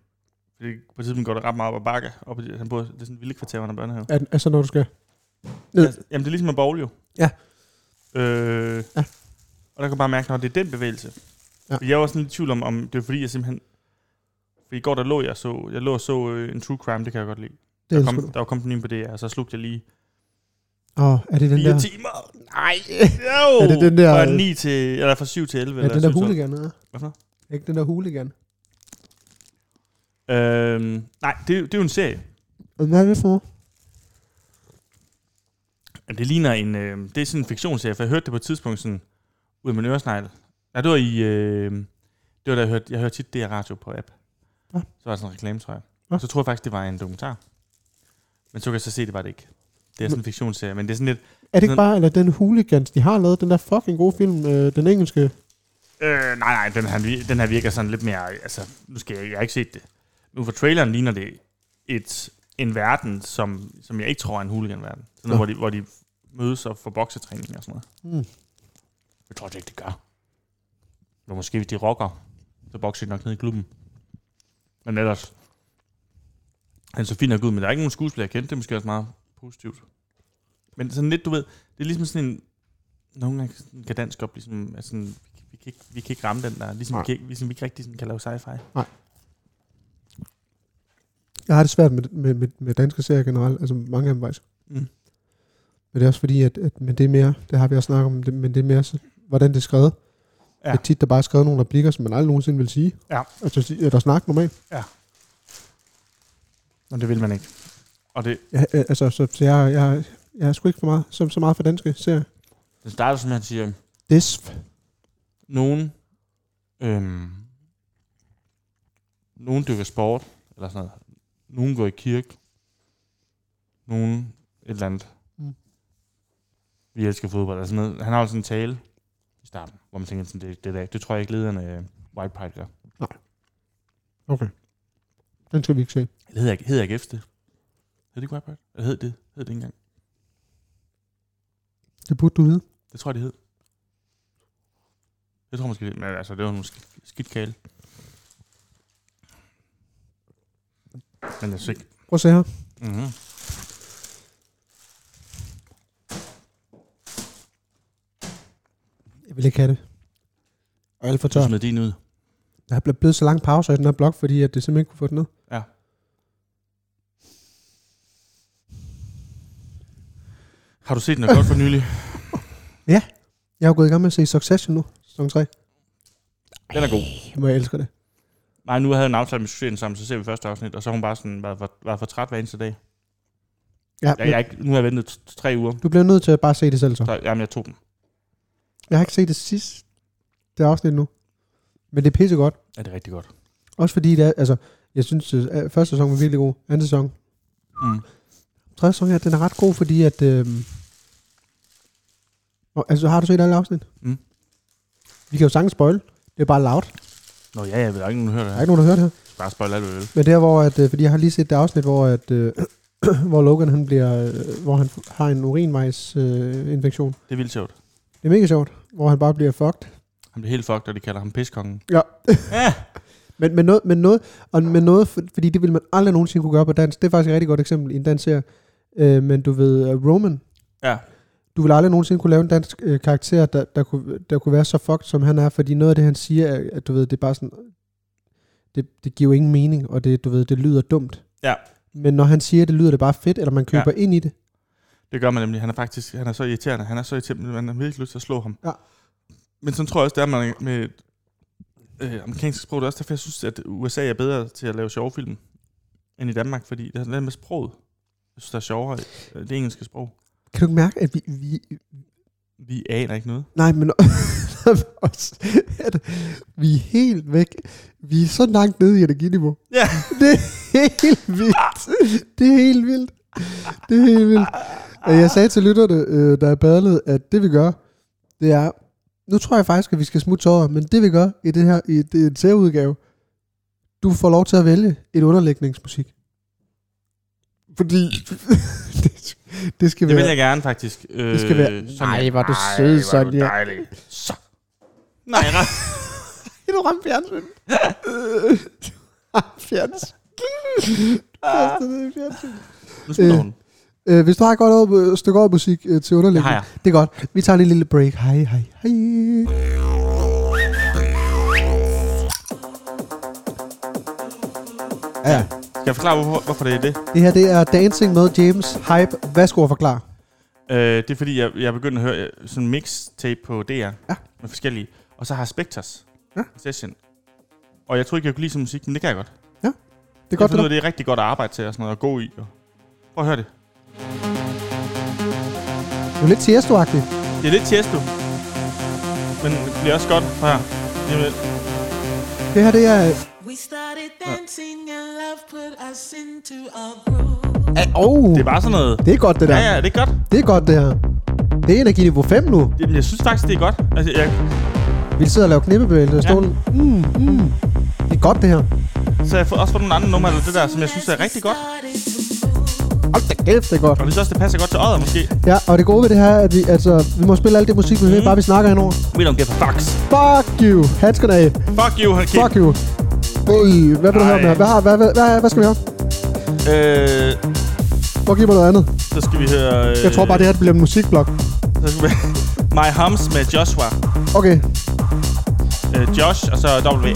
Speaker 4: Fordi på et tidspunkt går det ret meget op ad bakke. Op ad, han bor, det er sådan et vilde kvarter, hvor han er børnehave.
Speaker 2: Al- Altså, når du skal...
Speaker 4: Ja.
Speaker 2: Ned.
Speaker 4: Altså, jamen, det er ligesom en bowl jo.
Speaker 2: Ja.
Speaker 4: Øh,
Speaker 2: Ja.
Speaker 4: ja. Og der kan man bare mærke, at det er den bevægelse.
Speaker 2: Ja.
Speaker 4: Ja. Jeg var sådan lidt i tvivl om, om det var fordi, jeg simpelthen... For i går, der lå jeg så, jeg lå og så øh, en true crime, det kan jeg godt lide.
Speaker 2: Det
Speaker 4: Der,
Speaker 2: elsker
Speaker 4: kom,
Speaker 2: du.
Speaker 4: der var kommet en ny på det, og så slugte jeg lige
Speaker 2: Åh, er det den
Speaker 4: 4
Speaker 2: der...
Speaker 4: timer. Nej. Jo.
Speaker 2: *laughs* Er det den der-
Speaker 4: Fra, 9 til, eller fra 7 til 11.
Speaker 2: Er
Speaker 4: eller
Speaker 2: det den der
Speaker 4: 7 til
Speaker 2: hooligan, eller?
Speaker 4: Hvad for noget?
Speaker 2: Ikke den der hooligan?
Speaker 4: Øhm, nej, det, er- det er jo en serie.
Speaker 2: Hvad er det for?
Speaker 4: Jamen, Det ligner en... Øh, det er sådan en fiktionsserie, for jeg hørte det på et tidspunkt sådan... Ud af min øresnegl. Nej, det var i... Øh, det var da jeg hørte, jeg hørte tit DR Radio på app.
Speaker 2: Nå.
Speaker 4: Så var der sådan en reklame, tror jeg.
Speaker 2: Nå.
Speaker 4: Så troede jeg faktisk, det var en dokumentar. Men så kan jeg så se, det var det ikke. Det er sådan en fiktionsserie, men det er sådan lidt...
Speaker 2: Er det ikke
Speaker 4: Den-
Speaker 2: bare, eller den hooligans, de har lavet, den der fucking gode film, øh, den engelske?
Speaker 4: Øh, nej, nej, den her, vir- den her virker sådan lidt mere... Altså, nu skal jeg... Jeg har ikke set det. Nu for traileren ligner det et, en verden, som, som jeg ikke tror er en hooligan-verden. Sådan
Speaker 2: Nå.
Speaker 4: noget, hvor, de, hvor de mødes og får boksetræning og sådan noget.
Speaker 2: Mm.
Speaker 4: Jeg tror det ikke, det gør. Men måske hvis de rocker, så bokser de nok ned i klubben. Men ellers... Han så fint nok ud, men der er ikke nogen skuespiller, jeg kendte. Det er måske også meget positivt. Men sådan lidt, du ved, det er ligesom sådan en... Nogle gange sådan kan dansk godt blive sådan... Altså, sådan, vi, vi, kan ikke, vi kan ikke ramme den der. Ligesom, vi
Speaker 2: Nej.
Speaker 4: kan, ikke- ligesom vi ikke rigtig sådan, kan lave sci-fi.
Speaker 2: Jeg har det svært med, med, med, med danske serier generelt, altså mange af dem faktisk.
Speaker 4: Mm.
Speaker 2: Men det er også fordi, at, at men det er mere, det har vi også snakket om, det, men det er mere, så, hvordan det er skrevet.
Speaker 4: Ja.
Speaker 2: Ja. Det er tit, der bare er skrevet nogle replikker, som man aldrig nogensinde vil sige.
Speaker 4: Ja.
Speaker 2: Altså, sige- eller snakke normalt.
Speaker 4: Men det vil man ikke. Og det,
Speaker 2: Ja, øh, altså, så, så jeg, jeg, jeg er sgu ikke for meget, så, så meget for danske serier.
Speaker 4: det starter, som han siger,
Speaker 2: Desf.
Speaker 4: nogen, øhm, nogen dykker sport, eller sådan noget. Nogen går i kirke. Nogen et eller andet.
Speaker 2: Mm.
Speaker 4: Mm. Vi elsker fodbold. Eller sådan noget. Han har jo sådan en tale i starten, hvor man tænker, sådan, det, det, der, det tror jeg ikke lederne øh, White Pride gør.
Speaker 2: Okay. Den skal vi ikke se.
Speaker 4: Eller hedder, hedder ikke efter det? Hedder det ikke White Pride? Eller hed det? Hed det ikke engang?
Speaker 2: Det burde du vide.
Speaker 4: Det tror jeg, det hed. Jeg tror måske, det, men altså, det var nogle skidt, skidt kale. Men jeg synes ikke.
Speaker 2: Prøv at se her.
Speaker 4: Mm-hmm.
Speaker 2: Jeg vil ikke have det. Og alt for
Speaker 4: Du
Speaker 2: tør.
Speaker 4: smed din ud.
Speaker 2: Der er blevet så lang pause i den her blog, fordi at det simpelthen ikke kunne få den ned.
Speaker 4: Ja. Har du set den er godt for nylig?
Speaker 2: Jeg er jo gået i gang med at se Succession nu, sæson 3.
Speaker 4: Den er god.
Speaker 2: Jamen, jeg elsker det.
Speaker 4: Nej, nu havde jeg en aftale med Susanne sammen, så ser vi første afsnit, og så har hun bare sådan været for, været for træt hver eneste dag.
Speaker 2: Ja,
Speaker 4: Jeg, jeg er ikke, nu har jeg ventet t- tre uger,
Speaker 2: Du bliver nødt til at bare se det selv så.
Speaker 4: så jamen, jeg tog den.
Speaker 2: Jeg har ikke set det sidste det afsnit nu. Men det er pissegodt.
Speaker 4: Ja, det er rigtig godt.
Speaker 2: Også fordi det er, altså, jeg synes, at øh, første sæson var virkelig god. Anden sæson.
Speaker 4: Mm.
Speaker 2: Tredje sæson, ja, den er ret god, fordi at... Øhm, og, altså, har du set alle afsnit?
Speaker 4: Mm.
Speaker 2: Vi kan jo sagtens spoil. Det er bare loud.
Speaker 4: Nå ja, jeg ved ikke, om du hører det
Speaker 2: Der
Speaker 4: her.
Speaker 2: er ikke nogen, der hører det her.
Speaker 4: Jeg skal bare spoil alt, hvad du vil.
Speaker 2: Men der hvor, at, øh, fordi jeg har lige set det afsnit, hvor, at, øh, *clears throat* hvor Logan han bliver, øh, hvor han har en urinvejsinfektion. Øh, infektion.
Speaker 4: Det er vildt sjovt.
Speaker 2: det er mega sjovt, hvor han bare bliver fucked.
Speaker 4: Han bliver helt fucked, og de kalder ham piskongen.
Speaker 2: Ja.
Speaker 4: Ja.
Speaker 2: Men, men, noget, men, noget, og men noget, for- fordi det ville man aldrig nogensinde kunne gøre på dansk. Det er faktisk et rigtig godt eksempel i en dansk serie. Øh, men du ved, øh, Roman.
Speaker 4: Ja.
Speaker 2: Du ville aldrig nogensinde kunne lave en dansk øh, karakter, der, der, kunne, der kunne være så fucked, som han er. Fordi noget af det, han siger, er, at du ved, det er bare sådan... Det, det giver jo ingen mening, og det, du ved, det lyder dumt.
Speaker 4: Ja.
Speaker 2: Men når han siger det, lyder det bare fedt, eller man køber ja. ind i det.
Speaker 4: Det gør man nemlig. Han er faktisk han er så irriterende. Han er så irriterende, man har virkelig lyst til at slå ham.
Speaker 2: Ja.
Speaker 4: Men sådan tror jeg også, det er med, med øh, amerikansk sprog. Det er også derfor, jeg synes, at USA er bedre til at lave sjove film end i Danmark, fordi det er noget med sproget. Jeg synes, der er sjovere i, øh, det engelske sprog.
Speaker 2: Kan du ikke mærke, at vi... vi
Speaker 4: Vi aner ikke noget.
Speaker 2: nej, men *laughs* også, at vi er helt væk. Vi er så langt nede i energiniveau.
Speaker 4: Ja,
Speaker 2: *laughs* Det er helt vildt. Det er helt vildt. Det er helt vildt. Og Jeg sagde til lytterne, øh, da jeg badlede, at det vi gør, det er... Nu tror jeg faktisk, at vi skal smutte over, men det vi gør i det her i det særudgave, du får lov til at vælge et underlægningsmusik. Fordi *laughs* det, det skal
Speaker 4: det vil
Speaker 2: være...
Speaker 4: jeg gerne faktisk. Øh,
Speaker 2: Det skal være-
Speaker 4: Sonja.
Speaker 2: Nej, hvor er du sød,
Speaker 4: Ej, hvor er du
Speaker 2: Sonja.
Speaker 4: dejlig. Så. Nej, ret.
Speaker 2: Kan du ramme
Speaker 4: *laughs*
Speaker 2: fjernsynet? Øh, Fjernsyn. Du
Speaker 4: Ah.
Speaker 2: kaster ned i fjernsynet.
Speaker 4: Nu smider
Speaker 2: Øh,
Speaker 4: hun.
Speaker 2: Øh, Hvis du har et godt over, stykke over musik øh, til
Speaker 4: Det
Speaker 2: underlægning,
Speaker 4: har jeg.
Speaker 2: Det er godt. Vi tager lige en lille break. Hej, hej, hej. Ja,
Speaker 4: Skal jeg forklare, hvorfor, hvorfor det er det?
Speaker 2: det her det er Dancing med James Hype. Hvad skulle jeg forklare?
Speaker 4: Øh, det er fordi, jeg, jeg begyndte at høre øh, sådan en mixtape på DR ja. med forskellige. Og så har Spectres
Speaker 2: Ja.
Speaker 4: ja. session. Og jeg tror ikke, jeg kunne lide sådan musik, men det kan jeg godt.
Speaker 2: Det er godt,
Speaker 4: jeg
Speaker 2: det
Speaker 4: finder ud
Speaker 2: der.
Speaker 4: af, det er rigtig godt at arbejde til og sådan noget, og gå i. Og... Prøv at høre det.
Speaker 2: Det er lidt tiesto -agtigt.
Speaker 4: Det er lidt Tiesto. Men det bliver også godt fra her. Lige om lidt.
Speaker 2: Det her, det er...
Speaker 5: We started dancing and love put us into a groove.
Speaker 2: Åh, oh,
Speaker 4: Det er bare sådan noget.
Speaker 2: det er godt, det
Speaker 4: Ja,
Speaker 2: der.
Speaker 4: ja, det er godt.
Speaker 2: Det er godt, det her. Det er energiniveau 5 nu.
Speaker 4: Det, jeg synes faktisk, det er godt. Altså, jeg,
Speaker 2: Vi sidder og laver knippebevægelser i stolen. Ja. Mm, mm. Det er godt, det her.
Speaker 4: så jeg har fået- også fået nogle andre numre, eller det der, som jeg synes er rigtig godt.
Speaker 2: Hold da kæft, det er godt.
Speaker 4: Og det synes også, det passer godt til øjet, måske.
Speaker 2: Ja, og det gode ved det her er, at vi, altså, vi må spille alt det musik, vi vil, bare vi snakker henover.
Speaker 4: We don't give a fucks.
Speaker 2: Fuck you! Handskerne af.
Speaker 4: Fuck you, Hakim.
Speaker 2: Fuck you. Øj, hvad vil du
Speaker 4: Ej.
Speaker 2: høre med? Hvad, har- hvad, hvad, hvad, hvad skal vi høre?
Speaker 4: Øh,
Speaker 2: Prøv at give mig noget andet.
Speaker 4: så skal vi høre... Øh,
Speaker 2: Jeg tror bare, det her det bliver en musikblok.
Speaker 4: Så skal vi My Hums med Joshua.
Speaker 2: Okay,
Speaker 4: Øh, Josh, og så W.A.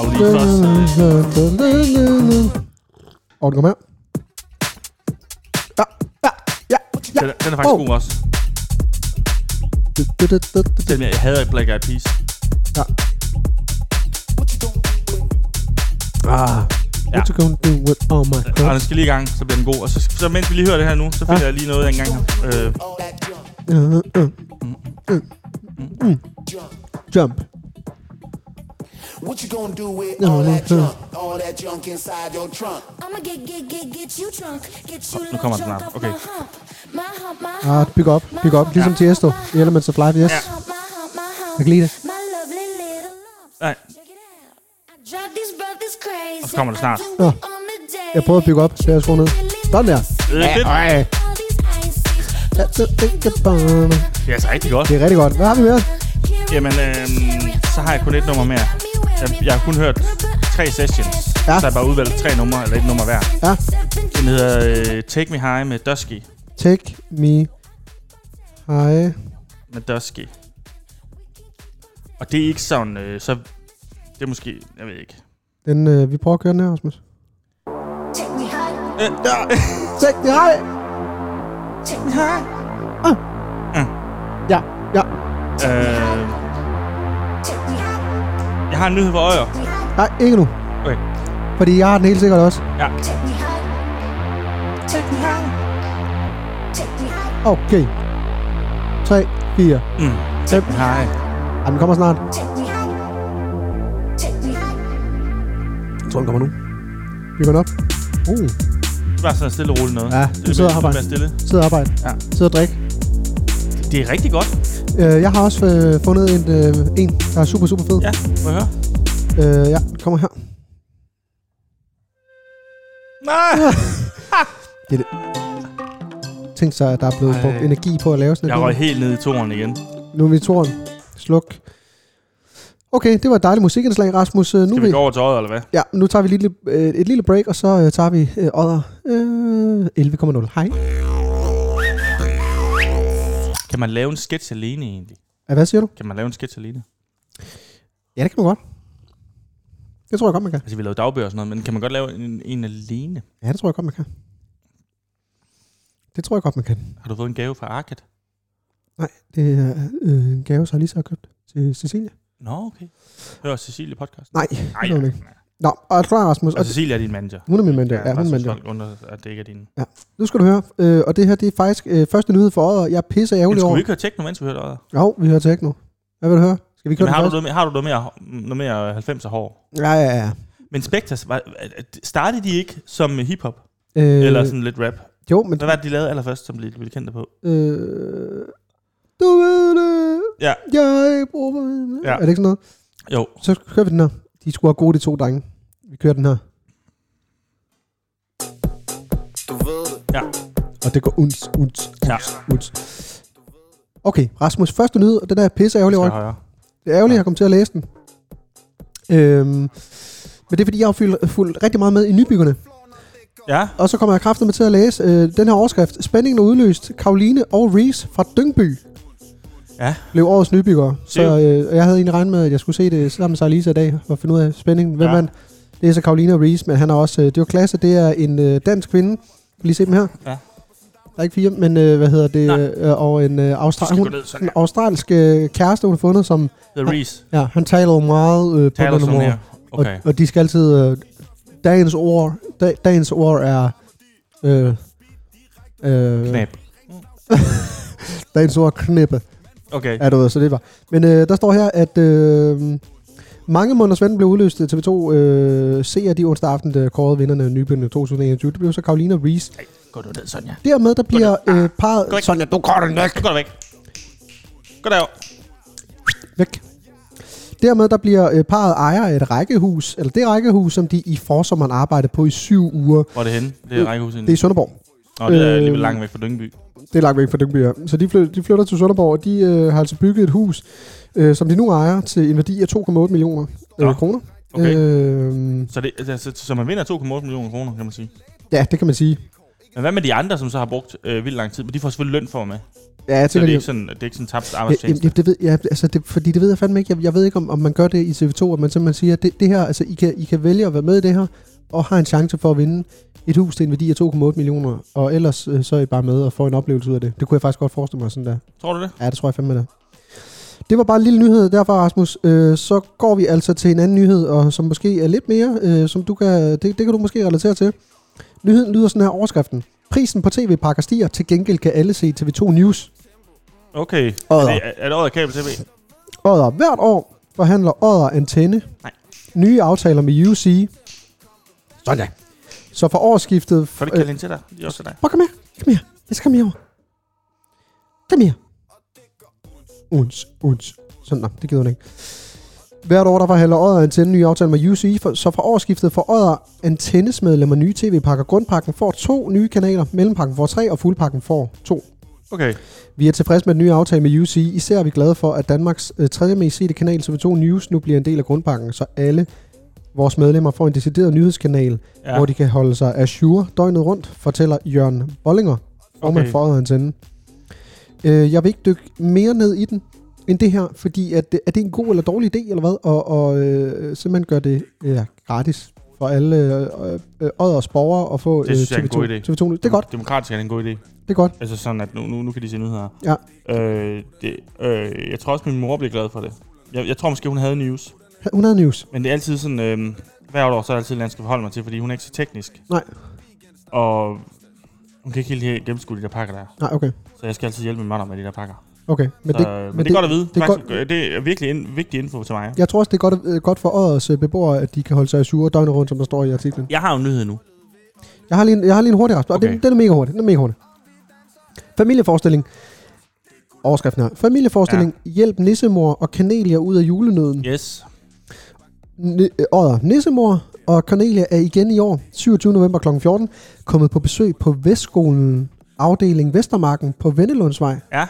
Speaker 4: Og lige først... øh,
Speaker 2: Og den kommer her. Ja, ja, ja, ja.
Speaker 4: Den, er- den er faktisk
Speaker 2: Oh.
Speaker 4: god også.
Speaker 2: Du, du, du, du, du, du.
Speaker 4: Den jeg hader i Black Eyed Peas.
Speaker 2: Ja. Ah. What you gonna do with all my
Speaker 4: Og
Speaker 2: crap?
Speaker 4: den skal lige i gang, så bliver den god. Og så, så mens vi lige hører det her nu, så finder jeg lige noget, jeg engang har... Øh,
Speaker 2: Jump.
Speaker 6: What you gonna do with
Speaker 2: No,
Speaker 6: all
Speaker 2: no,
Speaker 6: that
Speaker 2: no.
Speaker 6: junk? All that junk inside your trunk?
Speaker 7: I'ma get, get, get, get you drunk. Get you
Speaker 4: nu kommer den
Speaker 7: drunk
Speaker 4: snart.
Speaker 7: off
Speaker 4: Okay.
Speaker 7: my hump. My hump, my
Speaker 2: Ah,
Speaker 7: hump,
Speaker 2: big op, big op. Ligesom Tiesto i Elements of Life, yes.
Speaker 4: Ja.
Speaker 7: hump, my hump, my hump.
Speaker 2: Jeg kan lide det.
Speaker 7: My lovely little lumps.
Speaker 4: nej,
Speaker 7: Check it out. I drive these brothers crazy.
Speaker 4: Og så kommer det snart.
Speaker 7: I do it
Speaker 2: Nå.
Speaker 7: on the day.
Speaker 2: Ah. Jeg prøvede at bygge op, da jeg skruede ned. Sådan der.
Speaker 4: det er fedt.
Speaker 2: Ej.
Speaker 7: All these ices.
Speaker 2: That's a think about it.
Speaker 4: Det er altså rigtig godt.
Speaker 2: Det er rigtig godt. Hvad har vi mere?
Speaker 4: Jamen, øh, så har jeg kun et nummer mere. Jeg, jeg har kun hørt tre sessions.
Speaker 2: Ja.
Speaker 4: Ja. Så har jeg bare udvalgt tre numre, eller et nummer hver.
Speaker 2: Ja.
Speaker 4: Den hedder øh, Take Me High med Dusky.
Speaker 2: Take me high.
Speaker 4: Med Dusky. Og det er ikke sådan, øh, så... Det er måske... Jeg ved ikke.
Speaker 2: Den, øh, vi prøver at køre den her, Rasmus.
Speaker 7: Take me high.
Speaker 4: Øh, ja.
Speaker 2: Take me high. Ah.
Speaker 7: Take me high.
Speaker 2: Ja, ja.
Speaker 4: *laughs* Øh,
Speaker 7: Take me high.
Speaker 4: jeg har en nyhed for øjer.
Speaker 2: Nej, ikke nu.
Speaker 4: Okay.
Speaker 2: Fordi jeg har den helt sikkert også.
Speaker 4: Ja.
Speaker 7: Take me high. Take me high. Take me high.
Speaker 2: Okay. 3, 4,
Speaker 4: Mm.
Speaker 2: 5.
Speaker 4: Hej.
Speaker 2: Ej, den kommer snart.
Speaker 7: Take me high. Take me high.
Speaker 2: Jeg tror, den kommer nu. Vi går den op. Uh,
Speaker 4: Det var sådan stille og roligt noget.
Speaker 2: Ja,
Speaker 4: det
Speaker 2: du sidder og
Speaker 4: bare-
Speaker 2: arbejder.
Speaker 4: det er stille.
Speaker 2: sid og arbejde.
Speaker 4: Ja.
Speaker 2: Sid og drik.
Speaker 4: Det er rigtig godt.
Speaker 2: Øh, jeg har også øh, fundet en, øh, en, der er super, super fed.
Speaker 4: Ja, må jeg høre?
Speaker 2: Øh, ja, den kommer her.
Speaker 4: Nej!
Speaker 2: Tænk sig, at der er blevet
Speaker 4: Ej.
Speaker 2: brugt energi på at lave sådan
Speaker 4: Jeg
Speaker 2: noget.
Speaker 4: røg helt ned i toren igen.
Speaker 2: Nu er vi i toren. Sluk. Okay, det var et dejligt musikindslag, Rasmus. Øh, Nu
Speaker 4: Skal vi gå over til øjet, eller hvad?
Speaker 2: ja, nu tager vi lige, øh, et lille break, og så øh, tager vi øh, odder øh, 11,0. Hej.
Speaker 4: Kan man lave en sketch alene egentlig?
Speaker 2: Ja, hvad siger du?
Speaker 4: Kan man lave en sketch alene?
Speaker 2: Ja, det kan man godt. Det tror jeg godt, man kan.
Speaker 4: Altså, vi lavede dagbøger og sådan noget, men kan man godt lave en, en alene?
Speaker 2: Ja, det tror jeg godt, man kan. Det tror jeg godt, man kan.
Speaker 4: Har du fået en gave fra Arket?
Speaker 2: Nej, det er øh, en gave, som Lisa har købt til Cecilia.
Speaker 4: Nå, okay. Hør Cecilie podcast.
Speaker 2: Nej,
Speaker 4: Nej,
Speaker 2: det
Speaker 4: ja.
Speaker 2: kan hun ikke. Nå, og jeg tror, Rasmus,
Speaker 4: Og
Speaker 2: og
Speaker 4: Cecilie er din manager.
Speaker 2: hun er min mand der. Ja, hun er
Speaker 4: altså,
Speaker 2: min mand der.
Speaker 4: folk Under, at det ikke er din.
Speaker 2: Nu skal du høre, øh, og det her, det er faktisk øh, første nyhed for året, og jeg er pisse
Speaker 4: Men
Speaker 2: ærgerlig
Speaker 4: skulle
Speaker 2: over.
Speaker 4: vi ikke høre techno, mens vi hørte øjet?
Speaker 2: Jo, vi hører techno. Hvad vil du høre? Skal vi køre
Speaker 4: Jamen, har, du
Speaker 2: det?
Speaker 4: noget, mere- har du noget mere, noget mere 90'er hår?
Speaker 2: Ja, ja, ja.
Speaker 4: Men Spectres, var, startede de ikke som hiphop?
Speaker 2: Øh,
Speaker 4: Øh. Eller sådan lidt rap?
Speaker 2: Jo, men...
Speaker 4: Hvad var det, de lavede allerførst, som de blev kendte på?
Speaker 2: Øh, du ved det,
Speaker 4: Ja,
Speaker 2: jeg bruger... Ja.
Speaker 4: Ja.
Speaker 2: Er det ikke sådan noget?
Speaker 4: jo.
Speaker 2: Så kører vi den her. De skulle have gode, de to drenge. Vi kører den her.
Speaker 4: Ja.
Speaker 2: Og det går uns, uns, uns,
Speaker 4: Ja.
Speaker 2: ja. uns. Okay, Rasmus, første nyhed, og den er pisse ærgerlig over.
Speaker 4: Skal højere.
Speaker 2: Det er ærgerligt, at jeg kom til at læse den. Øhm, men det er, fordi jeg har fulgt, fulgt rigtig meget med i nybyggerne.
Speaker 4: Ja,
Speaker 2: Og så kommer jeg kraftigt med til at læse øh, den her overskrift. Spændingen er udløst. Karoline og Reese fra Dyngby
Speaker 4: Ja.
Speaker 2: blev årets nybyggere. Så
Speaker 4: Siv.
Speaker 2: øh, og jeg havde egentlig regnet med, at jeg skulle se det sammen med Sarlisa i dag og finde ud af spændingen. Hvem
Speaker 4: Ja.
Speaker 2: ja. man? Det er så Karoline og Reese, men han er også... Øh, det var klasse. Det er en øh, dansk kvinde, Kan lige se dem her?
Speaker 4: Ja.
Speaker 2: Der er ikke fire, men øh, hvad hedder det?
Speaker 4: Nej.
Speaker 2: Øh, og en, øh,
Speaker 4: Skal
Speaker 2: austral-
Speaker 4: gå
Speaker 2: hun,
Speaker 4: ned sådan
Speaker 2: en
Speaker 4: her.
Speaker 2: australsk øh, kæreste, hun har fundet, som...
Speaker 4: The Reese.
Speaker 2: Ja, han taler jo meget øh, på
Speaker 4: Taler
Speaker 2: den
Speaker 4: sådan her.
Speaker 2: måde.
Speaker 4: Okay.
Speaker 2: Og, og de skal altid... Øh, dagens ord, dag, dagens ord er... Øh, øh,
Speaker 4: Knap.
Speaker 2: dagens ord er knippe.
Speaker 4: Okay.
Speaker 2: Ja, du ved, så det var. Men øh, der står her, at øh, mange måneder Svend blev udløst. TV2 øh, ser de onsdag aften, der kårede vinderne af Nybyen 2021. Det blev så Karolina Reese.
Speaker 4: Gå du ned, Sonja.
Speaker 2: Dermed der bliver øh, parret...
Speaker 4: Gå væk.
Speaker 2: Sonja, du går den væk.
Speaker 4: Gå da væk. Gå derover.
Speaker 2: væk. Dermed der bliver øh, parret ejer af et rækkehus, eller det rækkehus, som de i forsommeren arbejdede på i syv uger.
Speaker 4: Hvor er det henne? Det er rækkehuset.
Speaker 2: Det er i Sønderborg.
Speaker 4: Nå, det er alligevel
Speaker 2: øh,
Speaker 4: langt væk fra Dyngby.
Speaker 2: Det er langt væk fra Dyngby, ja. Så de flytter, de flytter til Sønderborg, og de øh, har altså bygget et hus, øh, som de nu ejer til en værdi af 2,8 millioner
Speaker 4: Nå,
Speaker 2: øh, kroner.
Speaker 4: okay.
Speaker 2: Øh,
Speaker 4: Så, det, altså, så man vinder 2,8 millioner kroner, kan man sige.
Speaker 2: ja, det kan man sige.
Speaker 4: Men hvad med de andre, som så har brugt øh, vildt lang tid? Men de får selvfølgelig løn for med.
Speaker 2: Ja, jeg
Speaker 4: Så
Speaker 2: tænker,
Speaker 4: det er
Speaker 2: jeg,
Speaker 4: ikke sådan, det er ikke sådan tabt
Speaker 2: jeg,
Speaker 4: arbejdstjeneste.
Speaker 2: jeg, det ved, ja, altså det, fordi det ved jeg fandme ikke. Jeg, jeg ved ikke, om, om man gør det i TV2, at man simpelthen siger, at det, det her, altså, I, kan, I kan vælge at være med i det her, og har en chance for at vinde et hus til en værdi af 2,8 millioner, og ellers øh, så er I bare med og får en oplevelse ud af det. Det kunne jeg faktisk godt forestille mig sådan der.
Speaker 4: Tror du det?
Speaker 2: Ja, det tror jeg fandme det. Det var bare en lille nyhed derfra, Rasmus. Øh, så går vi altså til en anden nyhed, og som måske er lidt mere, øh, som du kan, det, det kan du måske relatere til. Nyheden lyder sådan her overskriften. Prisen på tv-pakker stiger, til gengæld kan alle se TV2 News.
Speaker 4: Okay. Er
Speaker 2: Odder.
Speaker 4: det, er, er det året kabel-tv?
Speaker 2: Odder hvert år forhandler Odder Antenne
Speaker 4: Nej.
Speaker 2: nye aftaler med UC. Sådan ja. Så for årsskiftet...
Speaker 4: Får det ikke kaldt ind til dig? Det er også til dig.
Speaker 2: Prøv, kom her. Kom her. Jeg skal komme herover. Kom her. Uns, uns. Sådan, nå, det gider hun ikke. Hvert år, der forhandler Odder Antenne nye aftale med UCI, for, så fra årsskiftet får Odder Antennes medlemmer nye tv-pakker. Grundpakken får to nye kanaler, mellempakken får tre, og fuldpakken får to.
Speaker 4: Okay.
Speaker 2: Vi er tilfredse med den nye aftale med UCI. Især er vi glade for, at Danmarks øh, tredje mest sete kanal TV2 News nu bliver en del af grundpakken, så alle vores medlemmer får en decideret nyhedskanal, ja.
Speaker 4: Ja.
Speaker 2: hvor de kan holde sig ajour døgnet rundt, fortæller Jørgen Bollinger, formand okay.
Speaker 4: Okay.
Speaker 2: for Odder Antenne. Øh, jeg vil ikke dykke mere ned i den end det her, fordi at, øh, er det en god eller dårlig idé, eller hvad? Og, og øh, simpelthen gør det ja, gratis for alle øh, øh, øh, Odders borgere at få øh,
Speaker 4: Det synes jeg er en
Speaker 2: TV2,
Speaker 4: god idé.
Speaker 2: TV2 News. Det er godt,
Speaker 4: Demokratisk er det en god idé.
Speaker 2: det er godt.
Speaker 4: Altså sådan, at nu, nu, nu kan de se nyheder.
Speaker 2: Ja.
Speaker 4: Øh, det, øh, jeg tror også, min mor bliver glad for det. Jeg, jeg tror måske, hun havde news.
Speaker 2: 100 News.
Speaker 4: Men det er altid sådan, øh, hvert år, så er det altid, noget, jeg skal forholde mig til, fordi hun er ikke så teknisk.
Speaker 2: Nej.
Speaker 4: Og hun kan ikke helt- helt gennemskue de der pakker der.
Speaker 2: Nej, okay.
Speaker 4: Så jeg skal altid hjælpe min mand med de der pakker.
Speaker 2: Okay, men,
Speaker 4: Men
Speaker 2: det,
Speaker 4: det, så, øh, men, men det, det er godt at vide.
Speaker 2: Det
Speaker 4: Det
Speaker 2: er
Speaker 4: er,
Speaker 2: godt,
Speaker 4: Faktisk, øh, det er virkelig en, vigtig info til mig.
Speaker 2: jeg tror også, det er godt, øh, godt for årets øh, beboere, at de kan holde sig sure døgnet rundt, som der står i artiklen.
Speaker 4: Jeg har jo en nyhed nu.
Speaker 2: Jeg har lige en, jeg har lige en hurtig rasp, okay.
Speaker 4: Okay.
Speaker 2: den, den er mega hurtig. Den er mega hurtig. Familieforestilling. Overskriften her. Familieforestilling. Ja. Hjælp nissemor og Cornelia ud af julenøden.
Speaker 4: Yes.
Speaker 2: Ni- øh, Odder. Nissemor og Cornelia er igen i år, 27. november kl. 14, kommet på besøg på Vestskolen, afdeling Vestermarken på Vendelundsvej,
Speaker 4: Ja.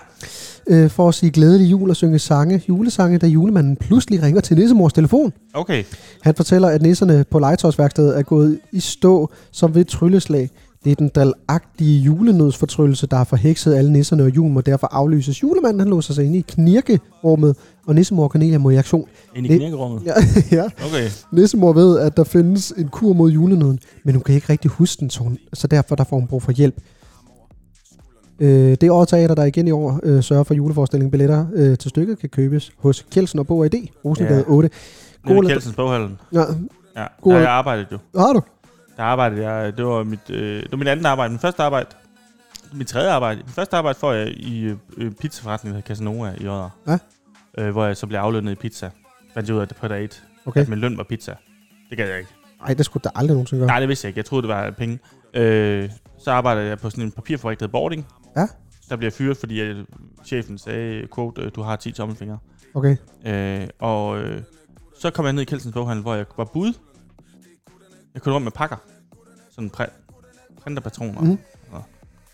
Speaker 2: øh, for at sige glædelig jul og synge sange, julesange, da julemanden pludselig ringer til nissemors telefon.
Speaker 4: Okay.
Speaker 2: Han fortæller, at nisserne på legetøjsværkstedet er gået i stå som ved et trylleslag. Det er den dalagtige julenødsfortryllelse, der har forhekset alle nisserne, og julen må derfor aflyses. Julemanden han låser sig inde i knirkerummet, og nissemor Cornelia må i aktion.
Speaker 4: Ind i
Speaker 2: Det-
Speaker 4: knirkerummet.
Speaker 2: Ja, *laughs* ja.
Speaker 4: Okay.
Speaker 2: Nissemor ved, at der findes en kur mod julenøden, men hun kan ikke rigtig huske den, så, hun, så derfor der får hun brug for hjælp. Øh, det er Åre teater, der igen i år øh, sørger for juleforestillingen. Billetter øh, til stykket kan købes hos Kjeldsen og Bog og ID, Rosengade
Speaker 4: Ja.
Speaker 2: 8.
Speaker 4: Nede
Speaker 2: Gode-
Speaker 4: i Kjeldsens boghallen.
Speaker 2: Ja,
Speaker 4: Ja.
Speaker 2: Gode-
Speaker 4: Der har jeg arbejdet jo.
Speaker 2: har du?
Speaker 4: Der arbejdede jeg, det var mit, øh, det var mit andet arbejde, mit første arbejde, mit tredje arbejde. Mit første arbejde får jeg i øh, øh, pizzaforretningen, der hedder Casanova i Odder.
Speaker 2: Ja.
Speaker 4: Øh, hvor jeg så blev aflønnet i pizza. Fandt jeg ud af det på dag 1,
Speaker 2: Okay.
Speaker 4: at min løn var pizza. Det gad jeg ikke.
Speaker 2: Nej, det skulle der aldrig nogensinde gøre.
Speaker 4: Nej, det vidste jeg ikke. Jeg troede, det var penge. Øh, så arbejdede jeg på sådan en papirfabrik, der hed Boarding.
Speaker 2: Ja.
Speaker 4: Der blev jeg fyret, fordi øh, chefen sagde, quote, øh, du har 10 tommelfingre.
Speaker 2: Okay.
Speaker 4: Øh, og øh, så kom jeg ned i Kjeldsens boghandel, hvor jeg var bud. Jeg kunne rundt med pakker. Sådan præ- printerpatroner
Speaker 2: Mhm.
Speaker 4: mm. og,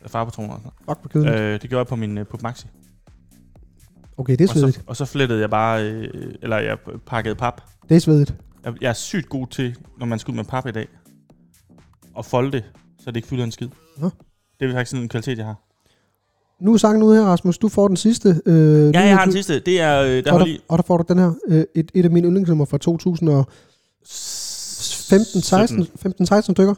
Speaker 4: og farpatroner. Og sådan.
Speaker 2: Fuck, hvor kedeligt. Øh,
Speaker 4: noget. Øh, det gjorde jeg på min øh, på Maxi.
Speaker 2: okay, det er
Speaker 4: og,
Speaker 2: svedigt.
Speaker 4: så, og så flettede jeg bare, øh, eller jeg pakkede pap.
Speaker 2: Det er svedigt.
Speaker 4: Jeg, jeg er sygt god til, når man skal ud med pap i dag, og folde det, så det ikke fylder en skid.
Speaker 2: Nå.
Speaker 4: Det er faktisk sådan en kvalitet, jeg har.
Speaker 2: Nu er sangen ude her, Rasmus. Du får den sidste. Øh,
Speaker 4: Ja, jeg har den
Speaker 2: sidste.
Speaker 4: sidste. Det er, øh, der
Speaker 2: Og
Speaker 4: var
Speaker 2: der,
Speaker 4: lige...
Speaker 2: og der får du den her. Øh, et, et af mine yndlingsnummer fra 2015-16
Speaker 4: 17.
Speaker 2: 15, stykker.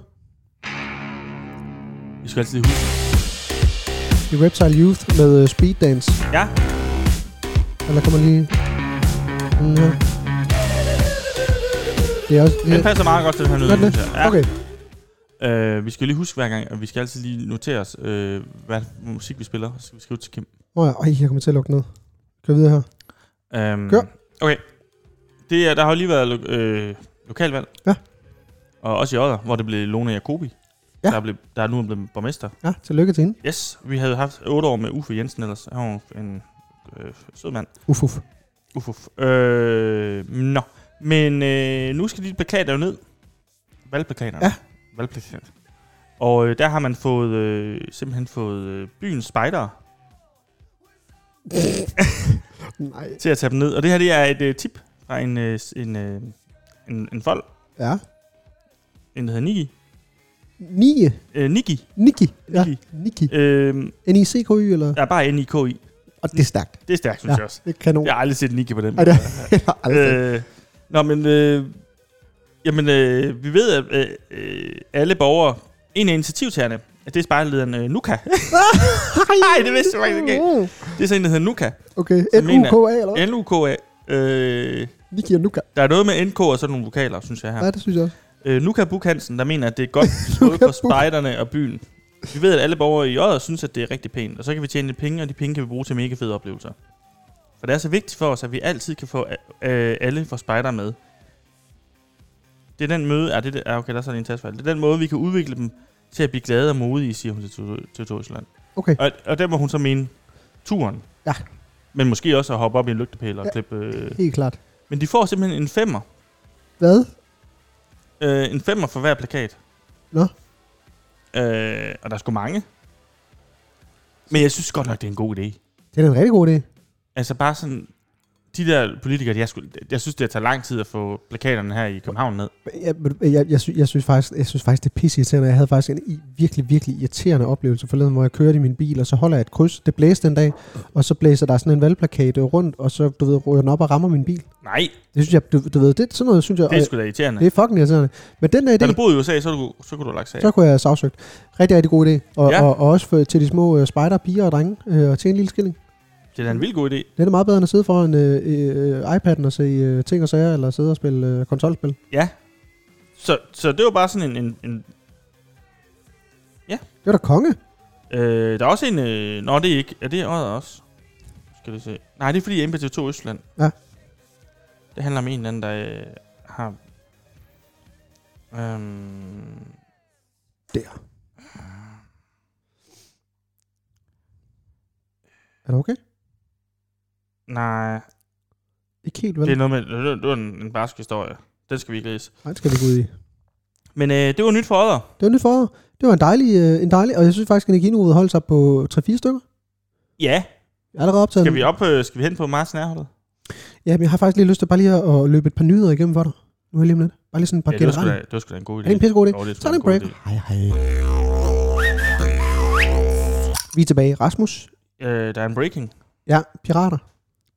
Speaker 4: I I skal altid lige huske.
Speaker 2: I Reptile Youth med øh, Speed Dance.
Speaker 4: Ja,
Speaker 2: Eller kommer lige... Mm, ja. Det er også... Det
Speaker 4: den passer meget godt til den her
Speaker 2: Gør den
Speaker 4: nød.
Speaker 2: det? Okay.
Speaker 4: Øh, vi skal lige huske hver gang, at vi skal altid lige notere os, øh, hvad musik vi spiller. Så skal vi skrive til Kim.
Speaker 2: Nå ja, ej, jeg kommer til at lukke ned. Kør videre her.
Speaker 4: Øhm,
Speaker 2: Kør.
Speaker 4: Okay. Det er, der har jo lige været lo- øh, lokalvalg.
Speaker 2: Ja.
Speaker 4: Og også i Odder, hvor det blev Lone Jacobi.
Speaker 2: Ja.
Speaker 4: Der, blev, der er nu blevet borgmester.
Speaker 2: Ja, tillykke til hende.
Speaker 4: Yes, vi havde haft 8 år med Uffe Jensen ellers. Han var jo en øh, sød mand.
Speaker 2: Uf,
Speaker 4: *laughs*
Speaker 2: uf.
Speaker 4: Uf, uf. Øh, nå. Men øh, nu skal de plakater jo ned. Valgplakaterne.
Speaker 2: Ja.
Speaker 4: Valgplakater. Og øh, der har man fået, øh, simpelthen fået øh, byens spejdere
Speaker 2: Nej.
Speaker 4: til at tage dem ned. Og det her det er et øh, tip fra en, øh, s- en, øh, en, en folk,
Speaker 2: Ja.
Speaker 4: en der hedder Niki.
Speaker 2: Nie.
Speaker 4: Øh, Niki.
Speaker 2: Niki. Ja.
Speaker 4: Niki.
Speaker 2: Niki.
Speaker 4: Øh,
Speaker 2: N-I-C-K-Y, eller?
Speaker 4: der er bare N-I-K-I.
Speaker 2: Og det er stærkt.
Speaker 4: Det er stærkt, synes
Speaker 2: Ja,
Speaker 4: jeg også.
Speaker 2: det er kanon.
Speaker 4: Jeg har aldrig set Niki på den.
Speaker 2: Ej, det
Speaker 4: *laughs*
Speaker 2: har jeg aldrig set.
Speaker 4: Øh, nå, men... Øh, jamen, øh, vi ved, at øh, øh, alle borgere... En af initiativtagerne, at det er spejlederen øh, Nuka. Nej, det vidste jeg faktisk ikke.
Speaker 2: Mm.
Speaker 4: Det er sådan en, der hedder Nuka.
Speaker 2: Okay,
Speaker 4: Øh. Så mener-
Speaker 2: N-U-K-A, eller hvad?
Speaker 4: N-U-K-A. Øh,
Speaker 2: Niki og Nuka.
Speaker 4: der er noget med NK og sådan nogle vokaler, synes jeg her.
Speaker 2: Ja, det synes jeg også.
Speaker 4: Øh, Nuka Buk Hansen, der mener, at det er godt
Speaker 2: *laughs*
Speaker 4: både for
Speaker 2: Buk.
Speaker 4: spejderne og byen. Vi ved, at alle borgere i Odder synes, at det er rigtig pænt, og så kan vi tjene lidt penge, og de penge kan vi bruge til mega fede oplevelser. For det er så vigtigt for os, at vi altid kan få øh, alle fra spejder med. Det er den møde, er det, der- ah, okay, der er sådan en tastfejl. Det er den måde, vi kan udvikle dem til at blive glade og modige, siger hun til Teu- til Torsland.
Speaker 2: Okay.
Speaker 4: Og, og der må hun så mene turen.
Speaker 2: Ja.
Speaker 4: Men måske også at hoppe op i en lygtepæl og
Speaker 2: Ja.
Speaker 4: ja. klippe... Øh.
Speaker 2: Helt klart.
Speaker 4: Men de får simpelthen en femmer.
Speaker 2: Hvad?
Speaker 4: Øh, en femmer for hver plakat.
Speaker 2: Nå.
Speaker 4: Øh, og der er sgu mange. Men jeg synes godt nok, det er en god idé.
Speaker 2: Det er da en rigtig god idé.
Speaker 4: Altså bare sådan... De der politikere, de er sgu, jeg synes, det tager lang tid at få plakaterne her i København ned.
Speaker 2: Jeg, jeg, jeg, sy- jeg, synes faktisk, jeg synes faktisk, det er pisseirriterende. Jeg havde faktisk en i- virkelig, virkelig irriterende oplevelse forleden, hvor jeg kørte i min bil, og så holder jeg et kryds. Det blæste en dag, og så blæser der sådan en valgplakat øh, rundt, og så, du ved, ryger den op og rammer min bil.
Speaker 4: Nej,
Speaker 2: Det synes jeg, du, du ved, det er sådan noget, synes jeg,
Speaker 4: det er
Speaker 2: det
Speaker 4: sgu da irriterende.
Speaker 2: er, Øh, det er fucking irriterende. Men den der
Speaker 4: Havde du
Speaker 2: idé,
Speaker 4: boet i USA, så, du, så kunne du have lagt sag.
Speaker 2: så kunne jeg have sagsøgt. Rigtig, rigtig god idé. Og,
Speaker 4: Ja.
Speaker 2: ja. og, og også for, til de små øh, spejder, piger og drenge, øh, og tjene en lille skilling.
Speaker 4: Det er da en vild god idé.
Speaker 2: Det er da meget bedre end at sidde foran øh, øh, iPad'en og se øh, ting og sager, eller sidde og spille øh, konsolspil.
Speaker 4: Så, så det var bare sådan en... en, en
Speaker 2: Det var da konge.
Speaker 4: øh, der er også en... Øh, nå, det er ikke... Er det Odder også? Skal det se. Nej, det er fordi MPT2 Østland.
Speaker 2: Ja.
Speaker 4: Det handler om en eller anden, der øh, har... Øhm,
Speaker 2: Der. Er det okay?
Speaker 4: Nej,
Speaker 2: Ikke helt vel?
Speaker 4: det er noget med, det var- det var en, en barsk historie. Den skal vi ikke læse.
Speaker 2: Nej, det skal vi ikke ud i.
Speaker 4: Men øh, det var nyt for Odder.
Speaker 2: Det var nyt for år. Det var en dejlig, øh, en dejlig og jeg synes faktisk, at Energinuvet holdt sig på 3-4 stykker.
Speaker 4: Ja,
Speaker 2: Jeg er allerede optaget.
Speaker 4: skal vi, op, øh, skal vi hen på Mars Nærholdet?
Speaker 2: Ja, men jeg har faktisk lige lyst til bare lige at, at løbe et par nyheder igennem for dig. Nu er lige om lidt. Bare lige sådan et par
Speaker 4: Ja, det var, sgu
Speaker 2: generelle.
Speaker 4: da, det var sgu da en god idé.
Speaker 2: Er det en pissegod idé?
Speaker 4: Jo, det er sgu
Speaker 2: Så er
Speaker 4: da
Speaker 2: det
Speaker 4: en
Speaker 2: en break.
Speaker 4: god idé.
Speaker 2: Hej, hej. Vi er tilbage. Rasmus.
Speaker 4: Øh, der er en breaking.
Speaker 2: Ja, pirater.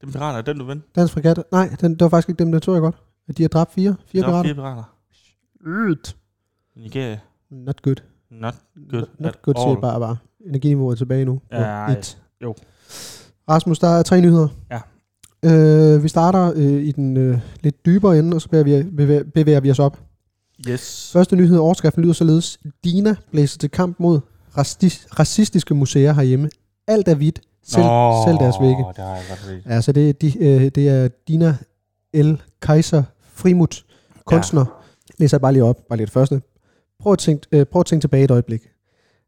Speaker 4: Den pirater, er den du vandt.
Speaker 2: Dansk fregat. Nej, den, det var faktisk ikke dem, der tog jeg godt. At de har dræbt fire. Fire
Speaker 4: Der er
Speaker 2: pirater.
Speaker 4: Fire pirater.
Speaker 2: Ydt.
Speaker 4: Nigeria.
Speaker 2: Not good.
Speaker 4: Not good
Speaker 2: Not
Speaker 4: at
Speaker 2: good
Speaker 4: all.
Speaker 2: til bare, bare. Energiniveauet er tilbage nu. på
Speaker 4: Ej,
Speaker 2: et.
Speaker 4: jo.
Speaker 2: Rasmus, der er tre nyheder.
Speaker 4: Ja.
Speaker 2: Øh, vi starter øh, i den øh, lidt dybere ende, og så bevæger vi, bevæger, bevæger vi os op.
Speaker 4: Yes.
Speaker 2: Første nyhed, overskriften lyder således. Dina blæser til kamp mod rasti- racistiske museer herhjemme. Alt er hvidt, selv,
Speaker 4: Nå,
Speaker 2: selv deres vægge.
Speaker 4: Det har jeg godt set.
Speaker 2: Ja, så det, de, øh, det er Dina L. Kaiser Frimut, kunstner. Ja. Læser jeg bare lige op, bare lige det første. Prøv at, tænke, øh, prøv at tænke tilbage et øjeblik.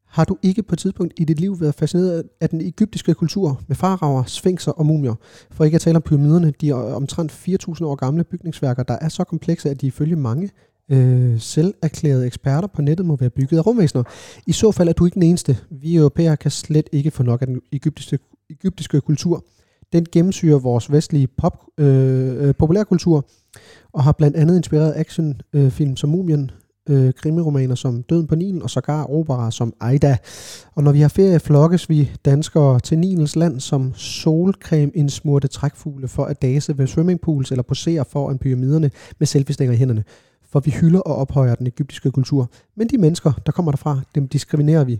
Speaker 2: Har du ikke på et tidspunkt i dit liv været fascineret af den egyptiske kultur med faraver, sfinxer og mumier? For ikke at tale om pyramiderne, de er omtrent 4.000 år gamle bygningsværker, der er så komplekse, at de ifølge mange øh, selv erklærede eksperter på nettet må være bygget af rumvæsener. I så fald er du ikke den eneste. Vi europæere kan slet ikke få nok af den egyptiske, egyptiske kultur. Den gennemsyrer vores vestlige pop, øh, øh, populærkultur, og har blandt andet inspireret actionfilm øh, film som Mumien, øh, krimiromaner som Døden på Nilen, og sågar operaer som Aida. Og når vi har ferie, flokkes vi danskere til Nilens land som solcreme indsmurte trækfugle for at dase ved swimmingpools eller posere foran pyramiderne med selfiestænger i hænderne. For vi hylder og ophøjer den egyptiske kultur, men de mennesker, der kommer derfra, dem diskriminerer vi.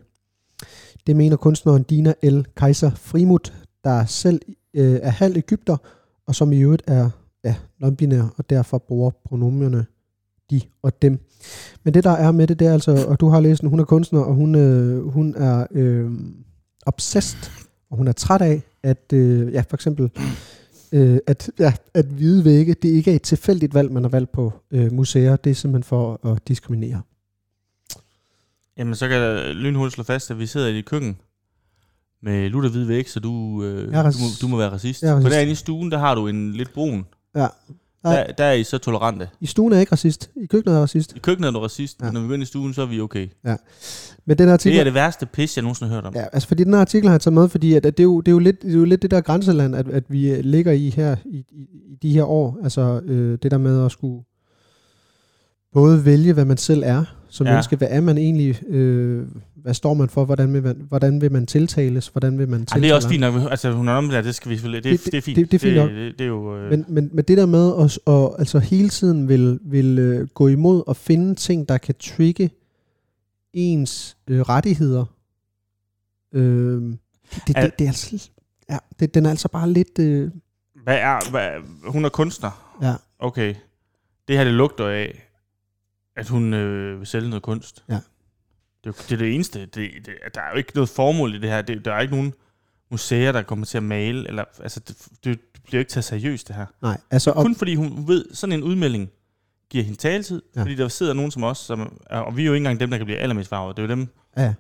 Speaker 2: Det mener kunstneren Dina El Kaiser Frimut, der selv øh, er halv Ægypter, og som i øvrigt er ja, non-binær, og derfor bruger pronomerne de og dem. Men det der er med det, det er altså, og du har læst den, hun er kunstner, og hun, øh, hun er øh, obsessed, og hun er træt af, at øh, ja, for eksempel, øh, at, ja, at hvide vægge, det ikke er et tilfældigt valg, man har valgt på øh, museer, det er simpelthen for at diskriminere.
Speaker 4: Jamen, så kan jeg lynhurtigt slå fast, at vi sidder i dit køkken med lutter hvid væg, så du, øh,
Speaker 2: Jeg er
Speaker 4: du,
Speaker 2: raci-
Speaker 4: må, du må være racist.
Speaker 2: Jeg er
Speaker 4: For
Speaker 2: racist.
Speaker 4: derinde i stuen, der har du en lidt brun.
Speaker 2: Ja. Nej.
Speaker 4: Der, der er I så tolerante.
Speaker 2: I stuen er jeg ikke racist, i køkkenet er jeg racist.
Speaker 4: I køkkenet er du racist,
Speaker 2: Ja.
Speaker 4: men når vi går ind i stuen, så er vi okay.
Speaker 2: Men den
Speaker 4: Det er
Speaker 2: artikel,
Speaker 4: det værste pis, jeg nogensinde har hørt om.
Speaker 2: ja, altså fordi den her artikel har jeg taget med, fordi at, at det, er jo, det, er jo lidt, det er jo lidt det der grænseland, at, at vi øh, ligger i her i, i, i de her år. Altså øh, det der med at skulle både vælge, hvad man selv er som ja.
Speaker 4: Ja.
Speaker 2: menneske, hvad er man egentlig, øh, hvad står man for, hvordan vil man, hvordan vil man tiltales, hvordan vil man
Speaker 4: Ej,
Speaker 2: tiltale
Speaker 4: det er også
Speaker 2: andre?
Speaker 4: fint nok. Altså, hun er der, det skal vi selvfølgelig... Det,
Speaker 2: Det-
Speaker 4: det, det er fint.
Speaker 2: det- det er fint nok.
Speaker 4: Det, det, det er jo... Øh,
Speaker 2: Men, men, men det der med at, at altså hele tiden vil, vil øh, gå imod og finde ting, der kan trigge ens øh, rettigheder, øh, det, det,
Speaker 4: Al-
Speaker 2: det, det er altså, ja, det, den er altså bare lidt... Øh,
Speaker 4: Hvad er, hvad, hun er kunstner.
Speaker 2: Ja.
Speaker 4: Okay. Det her, det lugter af, at hun øh, vil sælge noget kunst.
Speaker 2: Ja.
Speaker 4: Det, er jo- det er det eneste. Det, det, der er jo ikke noget formål i det her. Det, der er ikke nogen museer, der kommer til at male. Eller, altså, det, det, det bliver ikke taget seriøst, det her.
Speaker 2: nej, altså...
Speaker 4: Og
Speaker 2: Og,
Speaker 4: Kun fordi hun ved, sådan en udmelding giver hende taletid.
Speaker 2: Ja.
Speaker 4: Ja. Fordi der sidder nogen som os, som, er- og vi er jo ikke engang dem, der kan blive allermest farvet. Det er jo dem,
Speaker 2: ja,
Speaker 4: det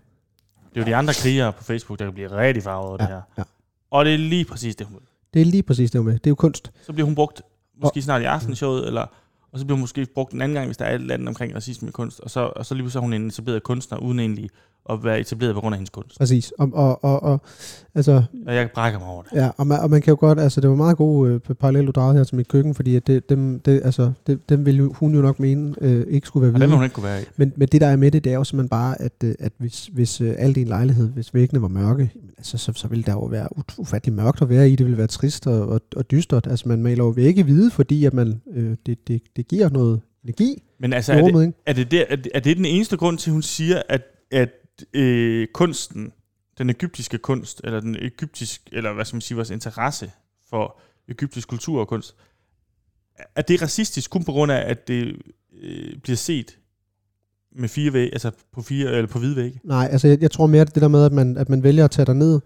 Speaker 4: er jo de andre krigere på Facebook, der kan blive rigtig farvet over ja. det her.
Speaker 2: ja.
Speaker 4: Og det er lige præcis det, hun vil.
Speaker 2: det er lige præcis det hun vil. Det er jo kunst.
Speaker 4: Så bliver hun brugt måske snart i aftenshowet, eller, og så bliver hun måske brugt en anden gang, hvis der er et eller andet omkring racisme i kunst. Og så, og så lige så er hun en etableret kunstner, uden egentlig at være etableret på grund af hendes kunst.
Speaker 2: Præcis. Og, og, og, og altså,
Speaker 4: Og jeg brækker mig over det.
Speaker 2: Ja, og man, og man kan jo godt, altså det var meget gode øh, parallel, du drejede her til mit køkken, fordi at det, dem, det, altså, det, dem ville jo, hun jo nok mene øh, ikke skulle være
Speaker 4: Og den vil
Speaker 2: hvide.
Speaker 4: hun ikke kunne være i.
Speaker 2: Men, men det der er med det, det er jo simpelthen bare, at, øh, at hvis, hvis øh, alt i en lejlighed, hvis væggene var mørke, jamen, altså, så, så ville der jo være ut- ufattelig mørkt at være i, det ville være trist og, og, og dystert. Altså man maler jo vægge hvide, fordi at man, øh, det, det, det giver noget energi
Speaker 4: Men altså,
Speaker 2: i
Speaker 4: er det,
Speaker 2: rummet, ikke?
Speaker 4: er, det der, er, det, er det den eneste grund til, at hun siger, at, at øh, kunsten, den egyptiske kunst, eller den egyptisk, eller hvad skal man sige, vores interesse for egyptisk kultur og kunst, at det er racistisk kun på grund af, at det øh, bliver set med fire væg, altså på fire, eller på hvide vægge?
Speaker 2: Nej, altså jeg, jeg tror mere, det er det der med, at man, at man vælger at tage ned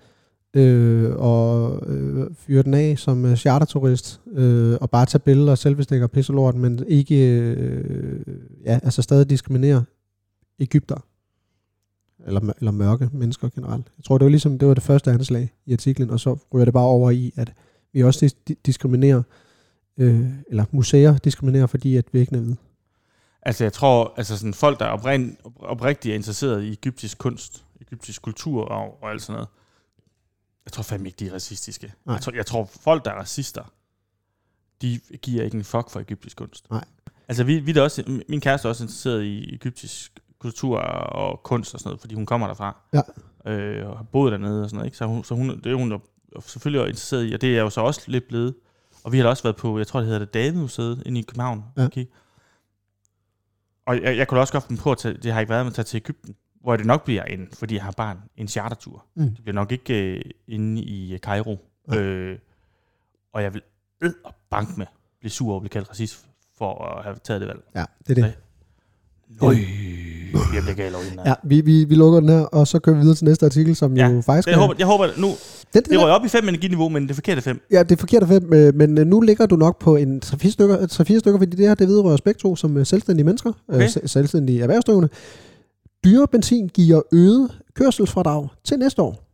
Speaker 2: øh, og øh, fyre den af som øh, charterturist, øh, og bare tage billeder og selvbestikker og pisse lort, men ikke, øh, ja, altså stadig diskriminere Ægypter. Eller, mør- eller mørke mennesker generelt. Jeg tror, det var ligesom, det var det første anslag i artiklen, og så ryger det bare over i, at vi også dis- di- diskriminerer, øh, eller museer diskriminerer, fordi at vi ikke er hvide.
Speaker 4: Altså, jeg tror, altså sådan folk, der er oprind, op- oprigtigt er interesseret i egyptisk kunst, egyptisk kultur og, og alt sådan noget, jeg tror fandme ikke, de er racistiske.
Speaker 2: Nej.
Speaker 4: Jeg tror, jeg tror, folk, der er racister, de giver ikke en fuck for egyptisk kunst.
Speaker 2: Nej.
Speaker 4: Altså, vi, vi er da også, m- min kæreste er også interesseret i egyptisk kultur og kunst og sådan noget, fordi hun kommer derfra.
Speaker 2: Ja.
Speaker 4: Øh, og har boet dernede og sådan noget, ikke? Så, hun, så hun, det er hun der selvfølgelig er interesseret i, og det er jeg jo så også lidt blevet. Og vi har da også været på, jeg tror, det hedder det Davidmuseet inde i København.
Speaker 2: Ja.
Speaker 4: Okay. Og jeg, jeg kunne da også godt finde på at tage, det har ikke været med at tage til Ægypten, hvor det nok bliver en, fordi jeg har barn, en chartertur.
Speaker 2: Mm.
Speaker 4: Det bliver nok ikke øh, inde i øh, Kairo.
Speaker 2: Nej.
Speaker 4: Øh, og jeg vil æd og banke med blive sur over at blive kaldt racist for at have taget det valg.
Speaker 2: Ja, det er det.
Speaker 4: Nej. Nøj, jeg bliver gal over den her.
Speaker 2: Ja, vi, vi, vi lukker den her, og så kører vi videre til næste artikel, som
Speaker 4: Ja,
Speaker 2: jo faktisk
Speaker 4: Jeg
Speaker 2: er...
Speaker 4: håber, jeg håber nu,
Speaker 2: Den, den
Speaker 4: det
Speaker 2: er-
Speaker 4: røg op i fem energiniveau, men det forkerte fem.
Speaker 2: Ja, det er forkert af fem, øh, men øh, nu ligger du nok på en 3-4 stykker, 3-4 stykker fordi det her, det vedrører os begge to som øh, selvstændige mennesker, okay.
Speaker 4: Okay.
Speaker 2: øh, se- selvstændige erhvervsdrivende. Dyre benzin giver øget kørselsfradrag til næste år.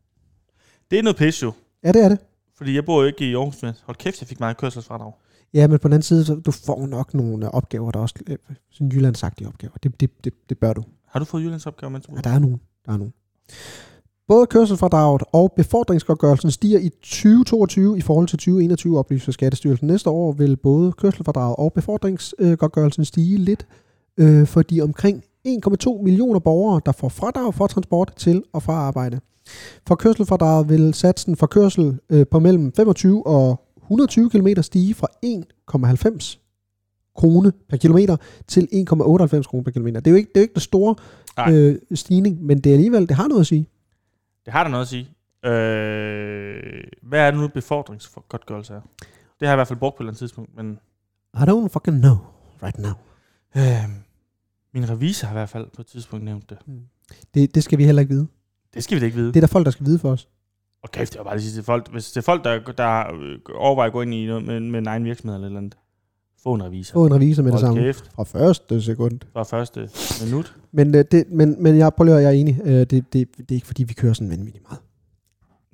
Speaker 4: Det er noget pis jo,
Speaker 2: Ja, det er det.
Speaker 4: fordi jeg bor jo ikke i Aarhus, men hold kæft, jeg fik meget kørselsfradrag.
Speaker 2: Ja, men på den anden side, så du får nok nogle øh, opgaver, der også øh, sådan jyllandsagtige opgaver. Det, det, det, det bør du.
Speaker 4: Har du fået jyllandsopgave, mens du
Speaker 2: Ja, der er nogen. Der er nogen. Både kørselsfradraget og befordringsgodtgørelsen stiger i 2022 i forhold til 2021, oplyser Skattestyrelsen. Næste år vil både kørselsfradraget og befordringsgodtgørelsen stige lidt øh, for de omkring 1,2 millioner borgere, der får fradrag for transport til og fra arbejde. For kørselsfradraget vil satsen for kørsel øh, på mellem 25 og 120 km stige fra 1,90 krone per kilometer til 1,98 kroner per kilometer. Det er jo ikke, det er jo ikke det store
Speaker 4: Nej.
Speaker 2: øh, stigning, men det er alligevel, det har noget at sige.
Speaker 4: Det har der noget at sige. Øh, hvad er det nu befordringsgodtgørelse er? Det har jeg i hvert fald brugt på et eller andet tidspunkt, men
Speaker 2: I don't fucking know right now.
Speaker 4: øh, min revisor har i hvert fald på et tidspunkt nævnt det.
Speaker 2: Det, det skal vi heller ikke vide.
Speaker 4: Det skal vi da ikke vide.
Speaker 2: Det er der folk, der skal vide for os.
Speaker 4: Og kæft, det var bare lige sige til folk, hvis det er folk, der, der øh, overvejer at gå ind i noget med, med en egen virksomhed eller et eller andet, få en revisor.
Speaker 2: Få en revisor med det
Speaker 4: Hold
Speaker 2: samme.
Speaker 4: kæft,
Speaker 2: Fra første sekund.
Speaker 4: fra første minut.
Speaker 2: Men, øh, det, men, men jeg, prøv lige at høre, jeg er enig. Øh, det, det, det er ikke, fordi vi kører sådan vanvittigt meget.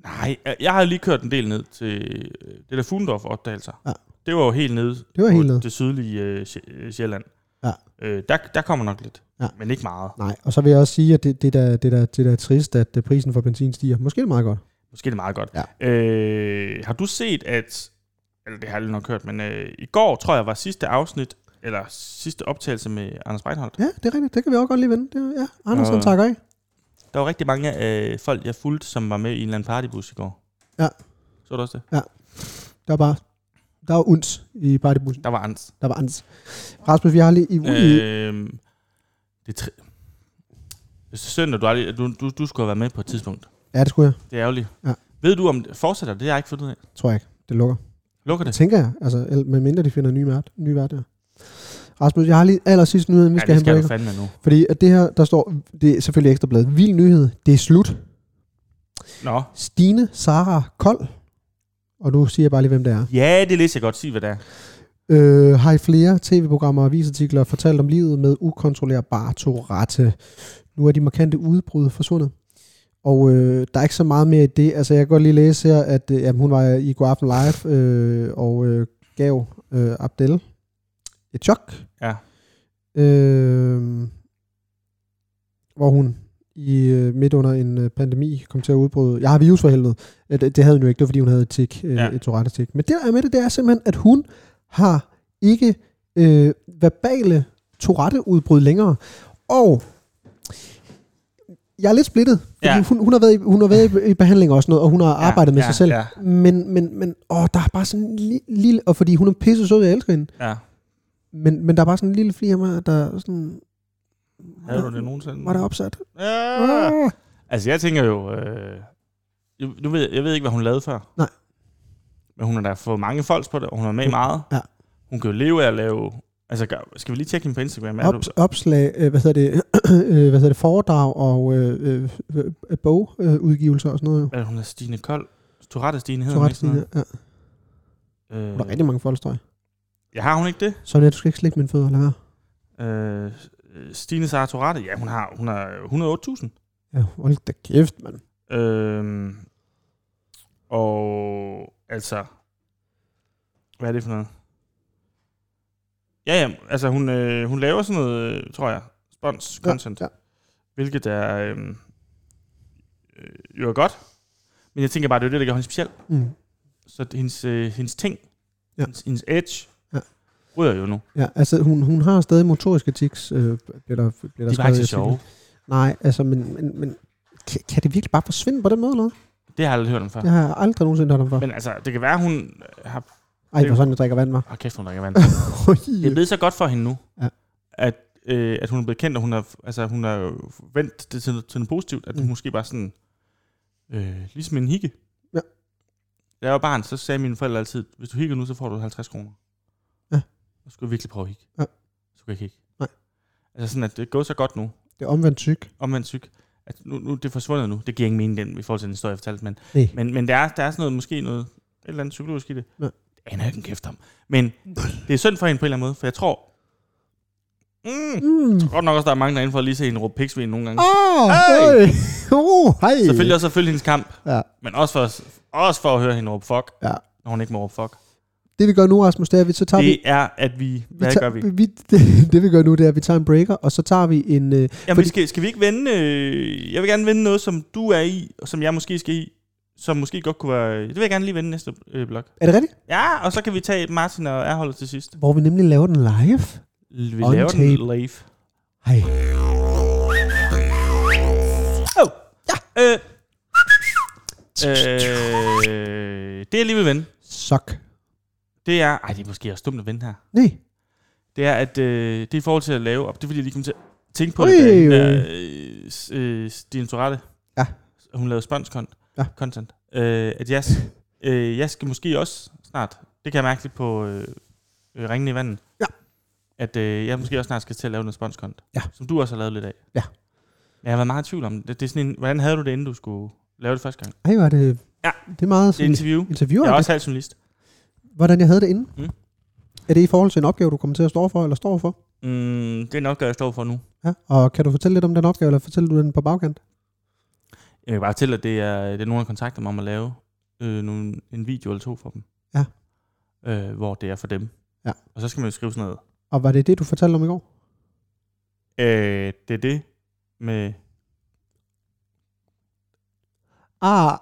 Speaker 4: Nej, jeg- jeg har lige kørt en del ned til øh, det der Fuglendorf opdagelser.
Speaker 2: Ja.
Speaker 4: Det var jo helt nede
Speaker 2: Det var
Speaker 4: på
Speaker 2: helt nede.
Speaker 4: det sydlige øh, Sj- øh, Sjælland.
Speaker 2: Ja.
Speaker 4: Øh, der, der kommer nok lidt,
Speaker 2: Ja.
Speaker 4: men ikke meget.
Speaker 2: Nej, og så vil jeg også sige, at det, det, der, det, der, det der er trist, at øh, prisen for benzin stiger. Måske er det meget godt.
Speaker 4: Måske er det meget godt.
Speaker 2: Ja.
Speaker 4: Øh, har du set, at... Eller det har jeg aldrig nok hørt, men øh, i går tror jeg var sidste afsnit, eller sidste optagelse med Anders Breinholt.
Speaker 2: Ja, det er rigtigt. Det kan vi også godt lige vende. Det, ja, Andersen
Speaker 4: Og-
Speaker 2: øh. takker af.
Speaker 4: Der var rigtig mange øh, folk, jeg fulgte, som var med i en eller anden partybus i går.
Speaker 2: Ja.
Speaker 4: Så du også det?
Speaker 2: Der var bare der var uns i partybussen.
Speaker 4: Der var Anders.
Speaker 2: Der var ans. Rasmus, vi har lige i, øh. i
Speaker 4: Øh, det er tri- det er synd, at du, aldrig, at du, du, du skulle have været med på et tidspunkt.
Speaker 2: Ja, det skulle jeg.
Speaker 4: Det er ærgerligt.
Speaker 2: Ja.
Speaker 4: Ved du, om det fortsætter? Det har jeg ikke fundet ud af.
Speaker 2: Tror jeg ikke. Det lukker.
Speaker 4: Lukker det?
Speaker 2: Tænker jeg. Altså, el- medmindre de finder en ny vært. Ny vært der. Rasmus, jeg har lige allersidst nyheden, vi
Speaker 4: Ja,
Speaker 2: skal,
Speaker 4: det
Speaker 2: ja,
Speaker 4: skal
Speaker 2: have
Speaker 4: du
Speaker 2: på.
Speaker 4: fandme nu.
Speaker 2: Fordi at det her, der står, det er selvfølgelig ekstrabladet. Vild nyhed. Det er slut.
Speaker 4: Nå.
Speaker 2: Stine Sara Kold, og nu siger jeg bare lige, hvem det er,
Speaker 4: Ja, det læser jeg godt. Sig, hvad det er.
Speaker 2: øh, har i flere tv-programmer og avisartikler fortalt om livet med ukontrollerbar Tourette. Nu er de markante udbrud forsvundet. Og øh, der er ikke så meget mere i det. Altså, jeg kan godt lige læse her, at øh, jamen, hun var i går aften live øh, og øh, gav øh, Abdel et chok.
Speaker 4: Ja.
Speaker 2: Øh, hvor hun i øh, midt under en øh, pandemi kom til at udbryde. Jeg har virus for helvede. Ja, det, det havde hun jo ikke, det var fordi hun havde et tik, øh,
Speaker 4: Ja.
Speaker 2: ja. et Tourette-tik. Men det der er med det, det er simpelthen, at hun har ikke øh, verbale Tourette-udbrud længere. Og jeg er lidt splittet, fordi
Speaker 4: Ja.
Speaker 2: ja. hun, hun, har været i, hun har været i, i behandling og sådan noget, og hun har arbejdet med
Speaker 4: ja,
Speaker 2: sig selv.
Speaker 4: ja.
Speaker 2: Men, men, men åh, der er bare sådan en li- lille... Og fordi hun er pisse sød, jeg elsker hende.
Speaker 4: Ja.
Speaker 2: Men, men der er bare sådan en lille flir med, der er sådan...
Speaker 4: Havde du det nogensinde?
Speaker 2: Var der opsat?
Speaker 4: Ja.
Speaker 2: Ah.
Speaker 4: Altså, jeg tænker jo... Øh, jeg, nu ved, jeg- jeg ved ikke, hvad hun lavede før.
Speaker 2: Nej.
Speaker 4: Men hun har da fået mange folks på det, og hun har med meget.
Speaker 2: Ja.
Speaker 4: Hun kan jo leve af at lave... Altså, gør, skal vi lige tjekke hende på Instagram? Er
Speaker 2: Ops,
Speaker 4: du,
Speaker 2: opslag, øh, hvad hedder det, *clears throat* øh, hvad hedder det, foredrag og øh, øh, øh, bogudgivelser og sådan noget. Jo.
Speaker 4: er det, hun er Stine Kold? Tourette Stine hedder
Speaker 2: Så
Speaker 4: hun
Speaker 2: ret
Speaker 4: ikke sådan
Speaker 2: fine.
Speaker 4: noget?
Speaker 2: Ja.
Speaker 4: Øh,
Speaker 2: Der er rigtig mange folk, tror jeg.
Speaker 4: Ja, har hun ikke det?
Speaker 2: Så du skal ikke slikke mine fødder, lad være.
Speaker 4: Øh, Stine Sara Tourette? Ja, hun har, hun har 108.000.
Speaker 2: Ja, hold da kæft, mand.
Speaker 4: Øhm, og altså, hvad er det for noget? Ja, ja, altså hun, øh, hun laver sådan noget, øh, tror jeg, spons content, ja,
Speaker 2: Ja,
Speaker 4: ja.
Speaker 2: ja.
Speaker 4: hvilket er øh, øh, jo er godt. Men jeg tænker bare, det er jo det, der gør hende speciel.
Speaker 2: Mm.
Speaker 4: Så det- hendes, øh, hendes ting, ja.
Speaker 2: Ja.
Speaker 4: hendes, hendes edge, ja.
Speaker 2: Ja.
Speaker 4: ryger jo nu.
Speaker 2: Ja, altså hun, hun har stadig motoriske tics, øh, bliver der, bliver der
Speaker 4: De var ikke så
Speaker 2: i artiklen.
Speaker 4: sjove.
Speaker 2: Nej, altså, men, men, men kan, kan det virkelig bare forsvinde på den måde, eller hvad?
Speaker 4: Det har jeg aldrig hørt om før.
Speaker 2: Det
Speaker 4: Ja.
Speaker 2: har jeg aldrig nogensinde hørt om før.
Speaker 4: Men altså, det kan være, hun har...
Speaker 2: Ej, hvor sådan, jeg drikker vand, var.
Speaker 4: Åh, kæft, hun drikker vand. Det er
Speaker 2: Oj.
Speaker 4: blevet så godt for hende nu, ja.
Speaker 2: Ja.
Speaker 4: at, øh, at hun er blevet kendt, og hun har, altså, hun har jo vendt det til, noget- til noget positivt, at hun
Speaker 2: Mm.
Speaker 4: måske bare sådan, øh, ligesom en hikke.
Speaker 2: Ja.
Speaker 4: Da jeg var barn, så sagde mine forældre altid, hvis du hikker nu, så får du 50 kroner.
Speaker 2: Ja.
Speaker 4: Så skulle jeg virkelig prøve at hikke.
Speaker 2: Ja.
Speaker 4: Så kunne jeg ikke hikke.
Speaker 2: Nej.
Speaker 4: Altså sådan, at det er gået så godt nu,
Speaker 2: Det er omvendt syg.
Speaker 4: omvendt syg, at nu, nu det er forsvundet nu. Det giver ingen mening den, i forhold til den historie, jeg fortalte, men,
Speaker 2: Nej.
Speaker 4: men, men der, er, der er sådan noget, måske noget, et eller andet psykologisk i det.
Speaker 2: Ja.
Speaker 4: Det aner jeg ikke en kæft om. Men det er synd for hende på en eller anden måde, for jeg tror, mm,
Speaker 2: Mm.
Speaker 4: godt nok også, der er mange derinde for at lige se hende råbe piksvin nogle gange.
Speaker 2: Åh,
Speaker 4: Hey!
Speaker 2: hey! *laughs* Oh, hej!
Speaker 4: Selvfølgelig også at følge hendes kamp,
Speaker 2: Ja.
Speaker 4: men også for, også for at høre hende råbe fuck,
Speaker 2: Ja.
Speaker 4: når hun ikke må råbe fuck.
Speaker 2: Det vi gør nu, Rasmus, det er, at vi så tager vi...
Speaker 4: Det er, at vi... Hvad
Speaker 2: tager,
Speaker 4: gør vi?
Speaker 2: vi det, det vi *laughs* gør nu, det er, at vi tager en breaker, og så tager vi en... Øh,
Speaker 4: Jamen,
Speaker 2: fordi-
Speaker 4: vi skal, skal vi ikke vende... Øh, jeg vil gerne vende noget, som du er i, og som jeg måske skal i, som måske godt kunne være... Det vil jeg gerne lige vende næste øh, blok.
Speaker 2: er det rigtigt?
Speaker 4: Ja, og så kan vi tage Martin og Erholder til sidst.
Speaker 2: Hvor vi nemlig laver den live.
Speaker 4: Vi
Speaker 2: On
Speaker 4: laver den
Speaker 2: tape.
Speaker 4: live.
Speaker 2: Hej.
Speaker 4: Oh, ja. Øh, øh, det er lige ved ven.
Speaker 2: Sok.
Speaker 4: Det er... Ej, det er måske også dumt at vende her.
Speaker 2: Nej.
Speaker 4: Det er, at øh, det er i forhold til at lave op. Det er fordi, jeg lige kom til at tænke på
Speaker 2: Ui,
Speaker 4: det, da
Speaker 2: ui.
Speaker 4: hende der, øh, s- øh, Stine Torette
Speaker 2: Ja.
Speaker 4: hun lavede sponskont,
Speaker 2: Ja.
Speaker 4: ja. content, øh, at jeg, s- øh, jeg skal måske også snart, det kan jeg mærke lidt på øh, øh, ringen i vandet,
Speaker 2: Ja.
Speaker 4: at øh, jeg måske også snart skal til at lave noget sponskont,
Speaker 2: Ja.
Speaker 4: som du også har lavet lidt af.
Speaker 2: Ja.
Speaker 4: Men jeg har været meget i tvivl om det. det er sådan en, hvordan havde du det, inden du skulle lave det første gang?
Speaker 2: Ej, var det...
Speaker 4: Ja.
Speaker 2: Det er meget
Speaker 4: Det er
Speaker 2: sådan,
Speaker 4: interview.
Speaker 2: interviewer,
Speaker 4: Jeg er
Speaker 2: ja,
Speaker 4: også halv journalist.
Speaker 2: hvordan jeg havde det inden.
Speaker 4: Mm.
Speaker 2: Er det i forhold til en opgave, du kommer til at stå for, eller står for?
Speaker 4: Mm, det er en opgave, jeg står for nu.
Speaker 2: Ja. Og kan du fortælle lidt om den opgave, eller fortæller du den på bagkant?
Speaker 4: Jeg kan bare fortælle, at det er, det er nogen, der kontakter mig om at lave øh, nogle, en video eller to for dem.
Speaker 2: Ja.
Speaker 4: Øh, hvor det er for dem.
Speaker 2: Ja.
Speaker 4: Og så skal man jo skrive sådan noget.
Speaker 2: Og var det det, du fortalte om i går?
Speaker 4: Øh, det er det med...
Speaker 2: Ah,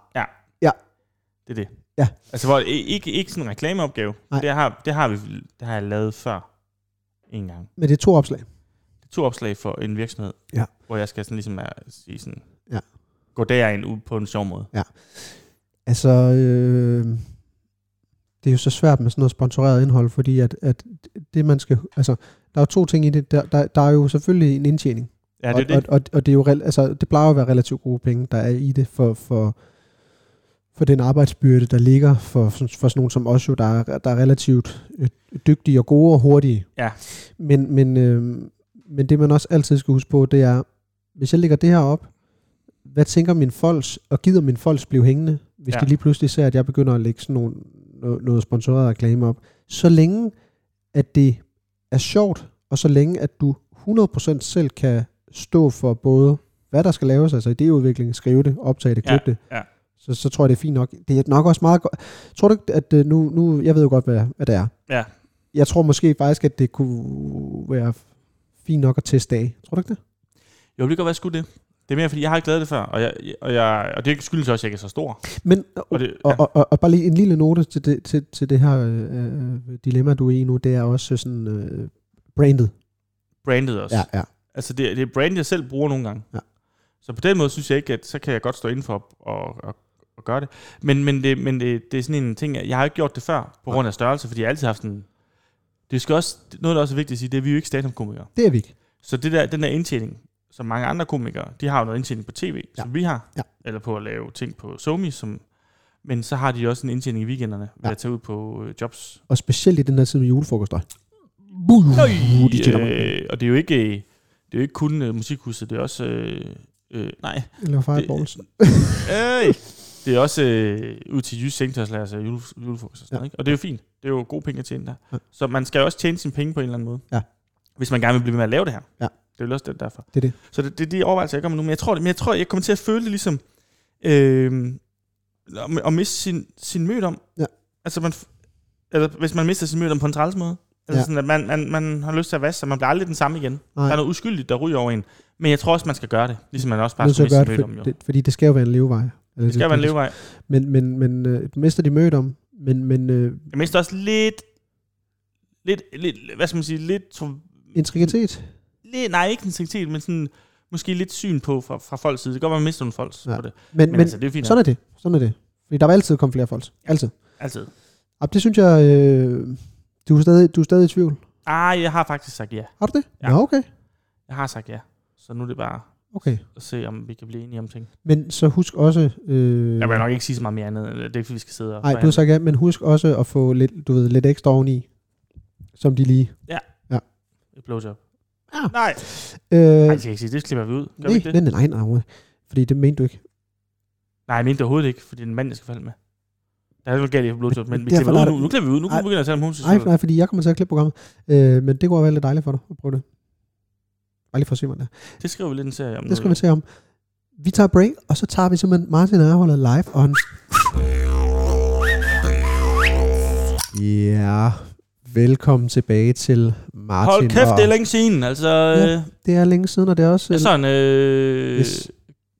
Speaker 4: Det er det.
Speaker 2: Ja.
Speaker 4: Altså, hvor, i- ikke, ikke sådan en reklameopgave.
Speaker 2: Nej.
Speaker 4: Det har, det, har vi, det har jeg lavet før. En gang.
Speaker 2: men det er to opslag.
Speaker 4: Det er to opslag for en virksomhed.
Speaker 2: Ja.
Speaker 4: Hvor jeg skal sådan ligesom at sige sådan...
Speaker 2: Ja.
Speaker 4: Gå derind ud på en sjov måde.
Speaker 2: Altså, øh, det er jo så svært med sådan noget sponsoreret indhold, fordi at, at det man skal, altså, der er jo to ting i det. Der, der, der er jo selvfølgelig en indtjening,
Speaker 4: Ja, det er det.
Speaker 2: og, og, og, og det er jo, rel- altså, det plejer jo at være relativt gode penge, der er i det for, for, for den arbejdsbyrde, der ligger for, for sådan nogen som os jo, der er, der er relativt øh, dygtige og gode og hurtige.
Speaker 4: Ja.
Speaker 2: Men, men, øh, men det man også altid skal huske på, det er, hvis jeg lægger det her op, hvad tænker min folks, og gider min folks blive hængende, hvis ja.
Speaker 4: Ja.
Speaker 2: de lige pludselig ser, at jeg begynder at lægge sådan nogle, noget, noget sponsoreret reklame op. Så længe, at det er sjovt, og så længe, at du 100% selv kan stå for både, hvad der skal laves, altså idéudvikling, skrive det, optage det,
Speaker 4: Ja,
Speaker 2: klippe det,
Speaker 4: ja.
Speaker 2: så, så tror jeg, det er fint nok. Det er nok også meget godt. Tror du ikke, at øh, nu, nu, jeg ved jo godt, hvad, hvad det er.
Speaker 4: Ja.
Speaker 2: Jeg tror måske faktisk, at det kunne være fint nok at teste af. Tror du ikke det?
Speaker 4: Jo, det kan godt være sgu det. Det er mere, fordi jeg har ikke lavet det før, og, jeg, og, jeg, og det skyldes også, at jeg ikke er så stor.
Speaker 2: Men, og,
Speaker 4: Og det,
Speaker 2: og, og, og, og bare lige en lille note til det, til, til det her øh, dilemma, du er i nu, det er også sådan øh, brandet.
Speaker 4: brandet også.
Speaker 2: Ja, ja.
Speaker 4: Altså, det, er- det er brand, jeg selv bruger nogle gange.
Speaker 2: Ja.
Speaker 4: Så på den måde synes jeg ikke, at så kan jeg godt stå indenfor og, og, og gøre det. Men, men, det, men det, det er sådan en ting, jeg jeg har ikke gjort det før, på grund af størrelse, fordi jeg har altid har haft sådan... Det skal også, noget, der også er vigtigt at sige, det er, at vi er jo ikke stand-up-komikere.
Speaker 2: Det er vi ikke.
Speaker 4: Så det der, den der indtjening, som mange andre komikere, de har jo noget indtjening på tv,
Speaker 2: Ja.
Speaker 4: ja. som vi har,
Speaker 2: Ja.
Speaker 4: eller på at lave ting på Somi, som, men så har de også en indtjening i weekenderne, ved
Speaker 2: Ja.
Speaker 4: at tage ud på øh, jobs
Speaker 2: Og specielt i den her tid med julefrokoster.
Speaker 4: Nøj,
Speaker 2: de tjener mange
Speaker 4: øh, og det er jo ikke, øh, det er jo ikke kun øh, musikhuset, det er også... Øh, øh, nej.
Speaker 2: Eller
Speaker 4: Det,
Speaker 2: fireballs.
Speaker 4: *laughs* øh, det er også øh, ud til Jysk Sengtøjslærer, og jule, julefrokost og sådan
Speaker 2: Ja.
Speaker 4: ja. ikke? Og det er jo fint. Det er jo gode penge at tjene der.
Speaker 2: Ja.
Speaker 4: Ja. Så man skal jo også tjene sine penge på en eller anden måde.
Speaker 2: Ja.
Speaker 4: Hvis man gerne vil blive ved med at lave det her.
Speaker 2: Ja.
Speaker 4: Det er jo også det derfor.
Speaker 2: Det er det.
Speaker 4: Så det, det er de overvejelser, jeg gør mig nu. Men jeg tror, det, men jeg, tror jeg kommer til at føle det ligesom... Øh, at- at miste sin, sin mødom.
Speaker 2: Ja.
Speaker 4: Altså, man, f- eller, hvis man mister sin mødom på en træls måde.
Speaker 2: Ja.
Speaker 4: Altså ja. sådan, at man, man, man har lyst til at vaske sig. Man bliver aldrig den samme igen.
Speaker 2: Nej.
Speaker 4: Der er noget uskyldigt, der ryger over en. Men jeg tror også, man skal gøre det. Ligesom man også bare
Speaker 2: Nødt til at
Speaker 4: skal
Speaker 2: gøre
Speaker 4: miste
Speaker 2: det,
Speaker 4: sin mødom.
Speaker 2: for,
Speaker 4: Jo. Det,
Speaker 2: det, fordi det skal jo være en levevej. Eller
Speaker 4: det skal være en levevej.
Speaker 2: Men, men, men øh, du mister de mødt om, men, men øh,
Speaker 4: Jeg mister også lidt... Lidt, lidt, hvad skal man sige, lidt, tro-
Speaker 2: integritet.
Speaker 4: lidt nej, ikke integritet, men sådan, måske lidt syn på fra, fra folks side. Det kan godt være, man mister nogle folks
Speaker 2: Ja.
Speaker 4: ja. på det.
Speaker 2: Men, men,
Speaker 4: Men, men altså, det er jo fint.
Speaker 2: sådan er det. Sådan er det. Fordi der vil altid komme flere folk. Altid.
Speaker 4: Altid.
Speaker 2: Og det synes jeg, øh, du, er stadig, du er stadig i tvivl.
Speaker 4: Ah, jeg har faktisk sagt ja.
Speaker 2: Har du det?
Speaker 4: Ja.
Speaker 2: Nå, okay.
Speaker 4: Jeg har sagt ja. Så nu er det bare
Speaker 2: okay.
Speaker 4: at se, om vi kan blive enige om ting.
Speaker 2: Men så husk også... Øh,
Speaker 4: Jeg vil nok ikke sige så meget mere andet. eller Det er ikke, fordi vi skal sidde
Speaker 2: Nej,
Speaker 4: og
Speaker 2: du har
Speaker 4: forhandle.
Speaker 2: sagt ja, men husk også at få lidt, du ved, lidt ekstra oveni, som de lige...
Speaker 4: Et blowjob.
Speaker 2: Ja.
Speaker 4: Nej,
Speaker 2: Ah. Øh,
Speaker 4: nej, det skal jeg ikke sige. Det klipper vi ud. Gør vi ikke
Speaker 2: nej,
Speaker 4: det?
Speaker 2: nej, nej, nej, nej, fordi det mente du ikke.
Speaker 4: Nej, jeg mente det overhovedet ikke, fordi det er en mand, jeg skal falde med. Der er noget galt i blowjob,
Speaker 2: Men
Speaker 4: men vi
Speaker 2: derfor
Speaker 4: klipper ud
Speaker 2: er
Speaker 4: nu.
Speaker 2: der-
Speaker 4: Nu klipper vi ud. Nu
Speaker 2: Ej.
Speaker 4: begynder jeg at tale om homoseksuelle.
Speaker 2: Nej, nej, fordi jeg kommer til at klippe programmet. Øh, men det kunne være lidt dejligt for dig at prøve det. Bare lige for at se, hvordan det er.
Speaker 4: Det skriver vi lidt en serie om. nu.
Speaker 2: Det skal man se om. Vi tager break, og så tager vi simpelthen Martin Ørholdet live on. Ja, velkommen tilbage til Martin.
Speaker 4: Hold kæft,
Speaker 2: og-
Speaker 4: det er længe siden. Altså,
Speaker 2: Ja,
Speaker 4: ja,
Speaker 2: det er længe siden, og det er også...
Speaker 4: jeg sådan... Øh,
Speaker 2: Yes.
Speaker 4: yes.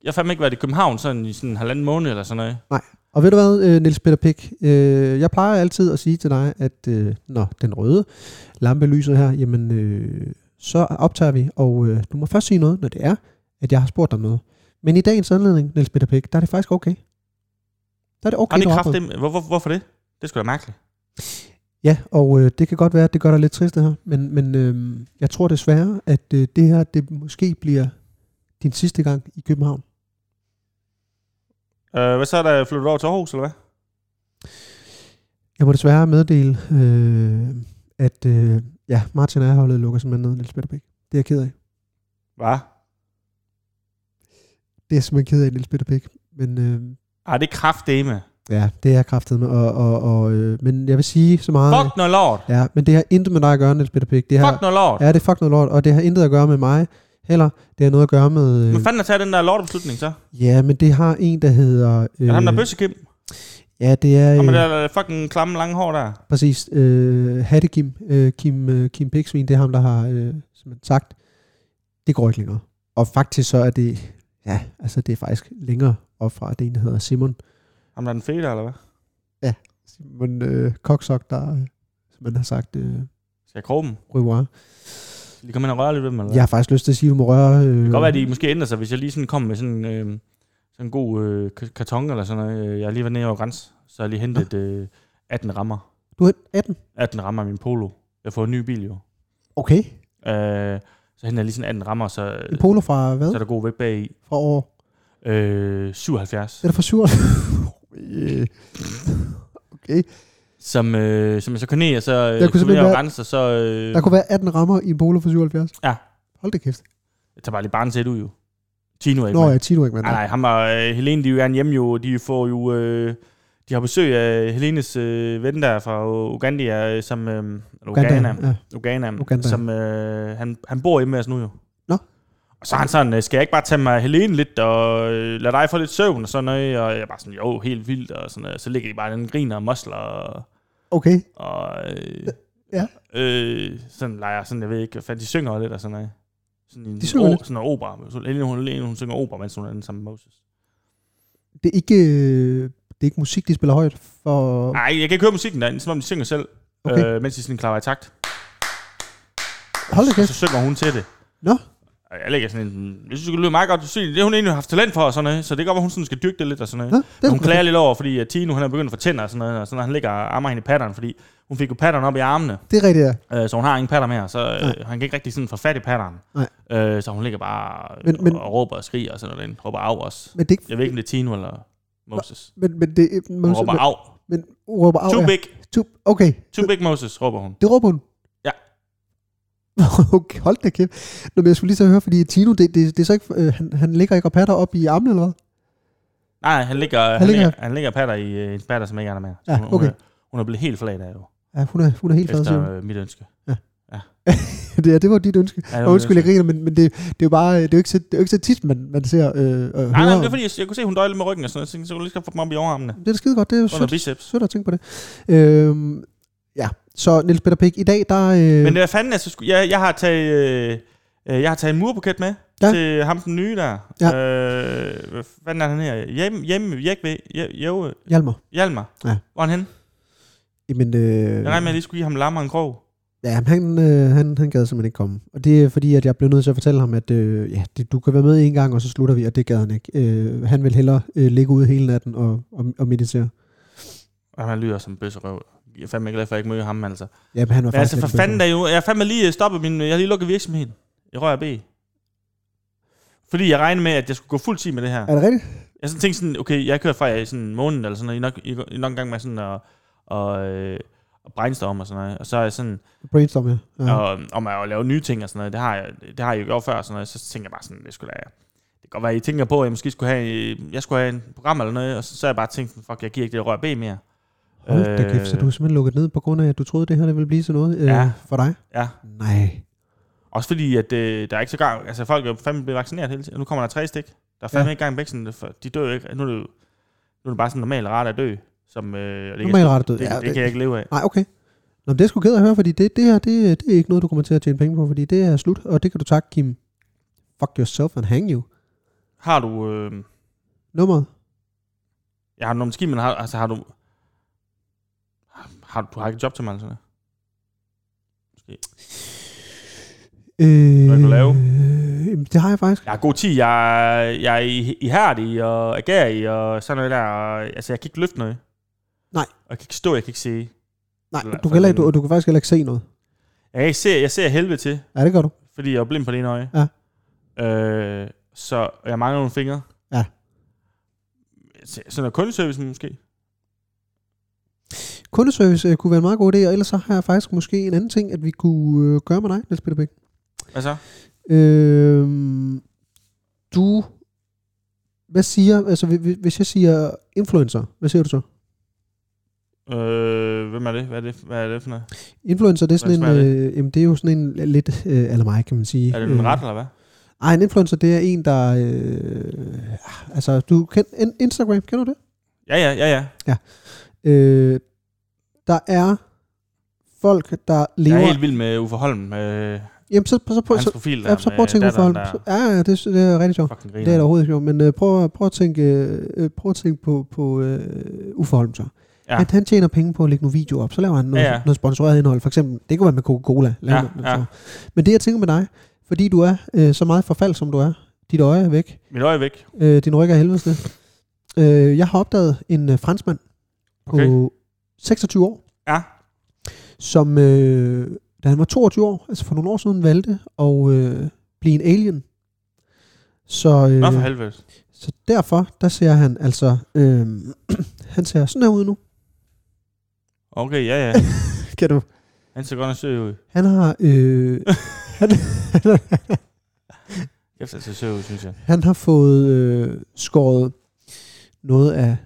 Speaker 4: Jeg har fandme ikke været i København sådan i sådan en halvanden måned eller sådan noget.
Speaker 2: Og ved du hvad, Nils Peter Pick, øh, jeg plejer altid at sige til dig, at øh, når den røde lampe lyser her, jamen øh, så optager vi, og øh, du må først sige noget, når det er, at jeg har spurgt dig om noget. Men i dagens anledning, Nils Peter Pick, der er det faktisk okay. Der er det okay,
Speaker 4: Har det
Speaker 2: du
Speaker 4: ikke
Speaker 2: har
Speaker 4: kraft
Speaker 2: afbrudt.
Speaker 4: dem? Hvor, hvor, hvorfor det? Det skulle sgu da mærkeligt.
Speaker 2: Ja, og øh, det kan godt være, at det gør dig lidt trist det her, men, men øh, jeg tror desværre, at øh, det her, det måske bliver din sidste gang i København.
Speaker 4: Øh, hvad så er der flyttet over til Aarhus, eller hvad?
Speaker 2: Jeg må desværre meddele, øh, at øh, ja, Martin Erholdet lukker simpelthen ned Niels Bitterbæk. Det er jeg ked af.
Speaker 4: Hvad?
Speaker 2: Det er jeg simpelthen ked af, Niels Bitterbæk. Men øh,
Speaker 4: Ej, det er kraftdeme.
Speaker 2: ja, det er kraftet med. Og, og, og, øh, men jeg vil sige så meget...
Speaker 4: Fuck no lord.
Speaker 2: Ja, men det har intet med dig at gøre, Niels Bitterbæk. Det har,
Speaker 4: Fuck no lord.
Speaker 2: Ja, det er fuck noget lort. Og det har intet at gøre med mig heller. Det har noget at gøre med... Øh,
Speaker 4: Hvad fanden har taget den der lortebeslutning så?
Speaker 2: Ja, men det har en, der hedder... Øh,
Speaker 4: Er det ham der bøssekim?
Speaker 2: Ja, det
Speaker 4: Ham med
Speaker 2: er
Speaker 4: det
Speaker 2: øh,
Speaker 4: der fucking klamme lange hår der.
Speaker 2: præcis øh, Hattekim, øh, Kim, øh, Kim Piksvin, det er ham, der har øh, simpelthen sagt, det går ikke længere. Og faktisk så er det, ja, altså det er faktisk længere op fra, at det er en, der hedder Simon.
Speaker 4: Ham der er den fede, eller hvad?
Speaker 2: Simon øh, Koksok, der øh, simpelthen har sagt, øh,
Speaker 4: Skal jeg kroge dem?
Speaker 2: revoir.
Speaker 4: Skal de komme ind og røre lidt ved dem, eller hvad?
Speaker 2: Jeg har faktisk lyst til at sige, at du må røre... Øh,
Speaker 4: Det kan godt være, at de måske ændrer sig, hvis jeg lige sådan kom med sådan, øh, sådan en god øh, k- karton eller sådan noget. Øh, Jeg har lige været nede over græns, så jeg lige hentet øh, 18 rammer.
Speaker 2: Du er 18.
Speaker 4: 18 rammer af min polo. Jeg får en ny bil jo.
Speaker 2: Okay.
Speaker 4: Øh, så henter jeg lige sådan 18 rammer, så,
Speaker 2: En polo fra hvad?
Speaker 4: Øh. så er der god vægt bag i.
Speaker 2: Fra år...
Speaker 4: Øh, 77.
Speaker 2: Er det fra 7? *laughs* Øh, okay.
Speaker 4: Som, øh, som jeg så kunne ned, og så øh,
Speaker 2: kunne
Speaker 4: jeg kunne
Speaker 2: simpelthen
Speaker 4: ned og
Speaker 2: være-
Speaker 4: rense, og så øh,
Speaker 2: Der kunne være 18 rammer i en polo for 77.
Speaker 4: Ja.
Speaker 2: Hold da kæft.
Speaker 4: jeg tager bare lige barnet sæt ud jo. Tino er ikke
Speaker 2: Nå
Speaker 4: med.
Speaker 2: ja, Tino ikke, mand.
Speaker 4: Nej, nej, ham og øh, Helene, de er jo gerne hjemme jo. De får jo... Øh, de har besøg af Helenes øh, ven der fra Uganda, øh, som... Øh, eller Uganda.
Speaker 2: Ja.
Speaker 4: Uganda,
Speaker 2: Uganda.
Speaker 4: Uganda. som øh, han, han bor hjemme med os nu jo.
Speaker 2: Nå.
Speaker 4: Og så er han sådan, øh, skal jeg ikke bare tage mig af Helene lidt, og øh, lade dig få lidt søvn og sådan noget? Og jeg er bare sådan, jo, helt vildt, og sådan noget. Så ligger de bare den griner og mosler, og,
Speaker 2: Okay.
Speaker 4: og øh,
Speaker 2: Ja.
Speaker 4: øh, sådan leger, sådan, jeg ved ikke, hvad fanden, de synger også lidt og sådan noget. Sådan en,
Speaker 2: De synger
Speaker 4: o-
Speaker 2: lidt.
Speaker 4: Sådan en opera. Så Helene, hun, Helene, hun synger opera, mens hun er den samme Moses.
Speaker 2: Det er ikke, øh, det er ikke musik, de spiller højt for...
Speaker 4: Nej, jeg kan ikke høre musikken derinde, som om de synger selv,
Speaker 2: Okay.
Speaker 4: okay. øh, mens de sådan klarer i takt.
Speaker 2: Hold da
Speaker 4: Og
Speaker 2: kæft.
Speaker 4: så synger hun til det.
Speaker 2: Nå.
Speaker 4: Og Jeg lægger sådan en, jeg synes, det lyder meget godt, du siger, det har hun egentlig haft talent for, og sådan noget, så det kan godt være, hun sådan skal dyrke det lidt og sådan noget.
Speaker 2: Nå, det
Speaker 4: Men
Speaker 2: er
Speaker 4: hun klager lidt over, fordi at Tino han er begyndt at få tænder og sådan noget, og sådan, noget, han ligger og ammer hende i patterne, fordi hun fik jo patterne op i armene,
Speaker 2: Det er rigtigt, ja.
Speaker 4: øh, så hun har ingen patter mere, så
Speaker 2: Nej.
Speaker 4: øh, han kan ikke rigtig sådan få fat i patterne.
Speaker 2: Nej.
Speaker 4: Øh, så hun ligger bare men,
Speaker 2: Men- men-
Speaker 4: men, og råber og skriger og sådan noget, derinde. råber af også.
Speaker 2: Men det er ikke...
Speaker 4: Jeg ved ikke, om det er Tino eller Moses.
Speaker 2: Men, men det er...
Speaker 4: Hun råber
Speaker 2: men,
Speaker 4: af.
Speaker 2: men, råber af,
Speaker 4: Too
Speaker 2: ja.
Speaker 4: big,
Speaker 2: Tu- Okay.
Speaker 4: too big Moses, råber hun.
Speaker 2: Det råber hun.
Speaker 4: Ja.
Speaker 2: *laughs* okay, hold da kæft. Nå, men jeg skulle lige så høre, fordi Tino, det, det, det er så ikke, øh, han, han ligger ikke og patter op i armene, eller hvad?
Speaker 4: Nej, han ligger, han
Speaker 2: ligger-
Speaker 4: ligger, han ligger patter i øh, en patter, som ikke er der mere. Så
Speaker 2: Ja,
Speaker 4: hun, hun,
Speaker 2: okay.
Speaker 4: er, hun er blevet helt flad af jo,
Speaker 2: Ja, hun er, hun er helt flad, siger hun. *laughs*
Speaker 4: efter øh, mit ønske.
Speaker 2: det, er, det var dit ønske.
Speaker 4: Ja, det var
Speaker 2: Og
Speaker 4: mit
Speaker 2: undskyld, jeg griner, men, men det, det er jo bare, det er jo ikke så, det er jo ikke så tit, man, man ser øh, øh,
Speaker 4: Nej, nej, men det er fordi, jeg, jeg kunne se, at hun døjede lidt med ryggen og sådan noget. Så jeg tænkte, så kunne jeg lige skal få dem op i overarmene.
Speaker 2: det er skide godt, det er jo
Speaker 4: Under
Speaker 2: sødt,
Speaker 4: biceps.
Speaker 2: sødt at tænke på det. Øhm, ja, så Niels Peter Pick, i dag, der... Øh,
Speaker 4: Men hvad fanden, altså, sku- jeg, jeg har taget... øh, Øh, jeg har taget en murbuket med
Speaker 2: Ja.
Speaker 4: ja. til ham den nye der.
Speaker 2: Ja.
Speaker 4: Øh, hvad fanden er han her? Hjem, hjemme, Jekve, Jo,
Speaker 2: Hjalmar.
Speaker 4: Hjalmar.
Speaker 2: Ja.
Speaker 4: Hvor er han henne?
Speaker 2: Jamen, øh,
Speaker 4: Jeg regner med, at jeg lige skulle give ham lammer og en krog.
Speaker 2: ja, men han, øh, han, han gad simpelthen ikke komme. Og det er fordi, at jeg blev nødt til at fortælle ham, at øh, ja, det, du kan være med en gang, og så slutter vi, og det gad han ikke. Øh, han vil hellere øh, ligge ude hele natten og, og, og meditere.
Speaker 4: Og han lyder som en bøsserøv. Jeg er fandme glad for, at jeg ikke møder ham, altså.
Speaker 2: Ja, men han var
Speaker 4: Men
Speaker 2: faktisk
Speaker 4: altså, for
Speaker 2: lidt
Speaker 4: fanden
Speaker 2: bekymret.
Speaker 4: da jo. Jeg har fandme lige øh, stoppet min... Jeg har lige lukket virksomheden. I Røger B. Fordi jeg regnede med, at jeg skulle gå fuld tid med det her.
Speaker 2: Er det rigtigt?
Speaker 4: Jeg sådan tænkte sådan, okay, jeg kører fra jer i sådan en måned eller sådan noget. I er nok, I er nok en gang med sådan at, og, øh, at brainstorme og sådan noget. Og så er jeg sådan,
Speaker 2: Brainstorm, ja.
Speaker 4: ja.
Speaker 2: ja.
Speaker 4: og, øhm, om at, at lave nye ting og sådan noget. Det har jeg, det har jeg jo gjort før og sådan noget. Så tænker jeg bare sådan, det skulle da... Det kan godt være, I tænker på, at jeg måske skulle have, øh, jeg skulle have en program eller noget. Og så, så har jeg bare tænkt, sådan, fuck, jeg giver ikke det rør B mere. Øh,
Speaker 2: Hold da kæft, så du er simpelthen lukket ned på grund af, at du troede, det her det ville blive sådan noget øh,
Speaker 4: Ja.
Speaker 2: for dig?
Speaker 4: Ja.
Speaker 2: Nej.
Speaker 4: Også fordi, at øh, der er ikke så gang... Altså, folk er jo fandme blevet vaccineret hele tiden. Nu kommer der tre stik. Der er fandme
Speaker 2: Ja.
Speaker 4: ja. ikke gang i bæksen. for De dør jo ikke. Nu er det, jo- nu er det bare sådan en normal ret at dø. Som, øh, og det,
Speaker 2: Normal
Speaker 4: kan,
Speaker 2: ret død.
Speaker 4: det, det, det, kan jeg ikke leve af.
Speaker 2: Nej, okay. Nå, men det er jeg sgu ked af at høre, fordi det, det her, det, det er ikke noget, du kommer til at tjene penge på, fordi det er slut, og det kan du takke Kim. Fuck yourself and hang you.
Speaker 4: Har du... Øh,
Speaker 2: Nummeret.
Speaker 4: jeg har nogle skimmel, har, altså har du... Har, har, du har ikke et job til mig, altså?
Speaker 2: Øh,
Speaker 4: Hvad kan du lave?
Speaker 2: Øh, jamen, det har jeg faktisk.
Speaker 4: Jeg har god tid, jeg, er- jeg er i- ihærdig og agerig og sådan noget der. Og, altså, jeg kan ikke løfte noget.
Speaker 2: Nej.
Speaker 4: Og jeg kan ikke stå, jeg kan ikke se.
Speaker 2: Nej,
Speaker 4: Eller
Speaker 2: du kan, heller ikke, du,
Speaker 4: fanden.
Speaker 2: du kan faktisk heller ikke se noget.
Speaker 4: Jeg, kan ikke se, jeg ser helvede til.
Speaker 2: Ja, det gør du.
Speaker 4: fordi jeg er blind på det ene øje.
Speaker 2: Ja.
Speaker 4: Øh, så og jeg mangler nogle fingre.
Speaker 2: Ja.
Speaker 4: Sådan er kundeservicen måske.
Speaker 2: Kundeservice øh, kunne være en meget god idé, og ellers så har jeg faktisk måske en anden ting, at vi kunne øh, gøre med dig, Niels Peter Bæk.
Speaker 4: Hvad så?
Speaker 2: Øh, du, hvad siger, altså hvi- hvi- hvis jeg siger influencer, hvad siger du så?
Speaker 4: Øh, hvem er det? Hvad er det, hvad er det for noget?
Speaker 2: Influencer, det er sådan
Speaker 4: Hvad
Speaker 2: en,
Speaker 4: smager
Speaker 2: øh, jamen, det er jo sådan en lidt øh, eller mig, kan man sige.
Speaker 4: Er det en
Speaker 2: Øh,
Speaker 4: ret, eller hvad?
Speaker 2: Ej, en influencer, det er en, der... Øh, altså, du kender in- Instagram, kender du det?
Speaker 4: Ja, ja, ja, ja.
Speaker 2: Øh, der er folk, der lever...
Speaker 4: Jeg er helt vild med Uffe Holm. Øh,
Speaker 2: Jamen, så, så, så,
Speaker 4: hans
Speaker 2: så,
Speaker 4: profil der
Speaker 2: ja, så
Speaker 4: med
Speaker 2: prøv at tænke ud for
Speaker 4: datteren,
Speaker 2: Holm. Ja, ja, det, det er rigtig
Speaker 4: der
Speaker 2: sjovt.
Speaker 4: Fucking
Speaker 2: Det er det
Speaker 4: griner.
Speaker 2: overhovedet ikke sjovt, men øh, prøv, at- prøv, at tænke, øh, prøv at tænke på, på øh, Uffe Holm så. Ja.
Speaker 4: Ja.
Speaker 2: Han, han tjener penge på at lægge nogle videoer op, så laver han noget, ja,
Speaker 4: Ja,
Speaker 2: ja.
Speaker 4: ja.
Speaker 2: noget sponsoreret indhold. For eksempel, det kunne være med Coca-Cola. Lave
Speaker 4: Ja,
Speaker 2: noget,
Speaker 4: ja.
Speaker 2: så. Men det jeg tænker med dig, fordi du er øh, så meget forfald, som du er, dit øje er væk,
Speaker 4: Mit øje er væk.
Speaker 2: øh, din ryg er helvedes til. Øh, jeg har opdaget en øh, franskmand på
Speaker 4: Okay.
Speaker 2: 26 år,
Speaker 4: Ja.
Speaker 2: som øh, da han var 22 år, altså for nogle år siden, valgte at øh, blive en alien. Så, øh,
Speaker 4: Nå for helvede.
Speaker 2: så derfor, der ser han altså, øh, *clears throat* han ser sådan her ud nu.
Speaker 4: Okay, ja, ja.
Speaker 2: Kan du?
Speaker 4: Han ser godt nok sød ud.
Speaker 2: Han har,
Speaker 4: *laughs*
Speaker 2: øh, han,
Speaker 4: Kæft, han ser sød ud, synes jeg.
Speaker 2: han har fået øh, skåret noget af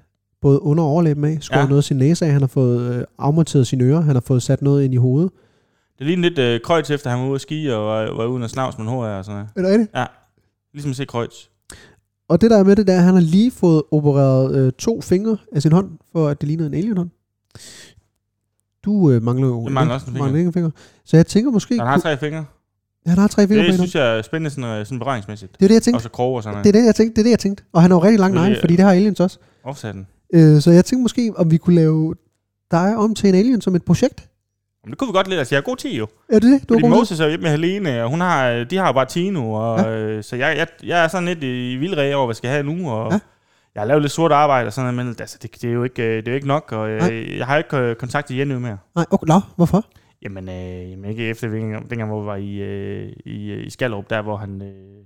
Speaker 2: både under og overlæben af, skåret ja.
Speaker 4: Ja.
Speaker 2: noget af sin næse af, han har fået øh, afmonteret sine ører, han har fået sat noget ind i hovedet.
Speaker 4: Det ligner lidt øh, Kreutz, efter han var ude at ski og var, var uden at snavs med en HR og sådan noget.
Speaker 2: Er det rigtigt?
Speaker 4: Ligesom at se Kreutz.
Speaker 2: Og det der er med det, der er, at han har lige fået opereret øh, to fingre af sin hånd, for at det ligner en alienhånd. Du øh, mangler jo
Speaker 4: Jeg mangler også en finger.
Speaker 2: mangler ikke en finger. Så jeg tænker måske...
Speaker 4: Han har tre fingre.
Speaker 2: kunne- han har tre fingre på
Speaker 4: Det
Speaker 2: en hånd.
Speaker 4: synes jeg er spændende sådan, øh, sådan berøringsmæssigt.
Speaker 2: Det er det, jeg tænkte.
Speaker 4: Og så kroge og sådan
Speaker 2: Det
Speaker 4: noget.
Speaker 2: er det, jeg tænkte. Det er det, jeg tænkte. Og han har jo rigtig lang
Speaker 4: Det er
Speaker 2: negle,
Speaker 4: det,
Speaker 2: fordi det har aliens også.
Speaker 4: Offsatten.
Speaker 2: Øh, så jeg tænkte måske, om vi kunne lave dig om til en alien som et projekt.
Speaker 4: Men det kunne vi godt lide. Altså, jeg er god til jo.
Speaker 2: Er det det, du har brug
Speaker 4: Fordi Moses er jo hjemme med Helene, og hun har, øh, de har jo bare Tino, og,
Speaker 2: Ja.
Speaker 4: ja. øh, så jeg, jeg, jeg er sådan lidt i vildræge over, hvad jeg skal have nu, og
Speaker 2: Ja.
Speaker 4: ja. jeg har lavet lidt sort arbejde og sådan noget, men altså, det, det, er jo ikke, øh, det er jo ikke nok, og
Speaker 2: Nej.
Speaker 4: øh, jeg har ikke øh, kontakt til Jenny mere.
Speaker 2: Nej, okay, nå, hvorfor?
Speaker 4: Jamen, øh, jamen ikke efter dengang, dengang, hvor vi var i, øh, i, øh, i Skallerup, der hvor han, øh,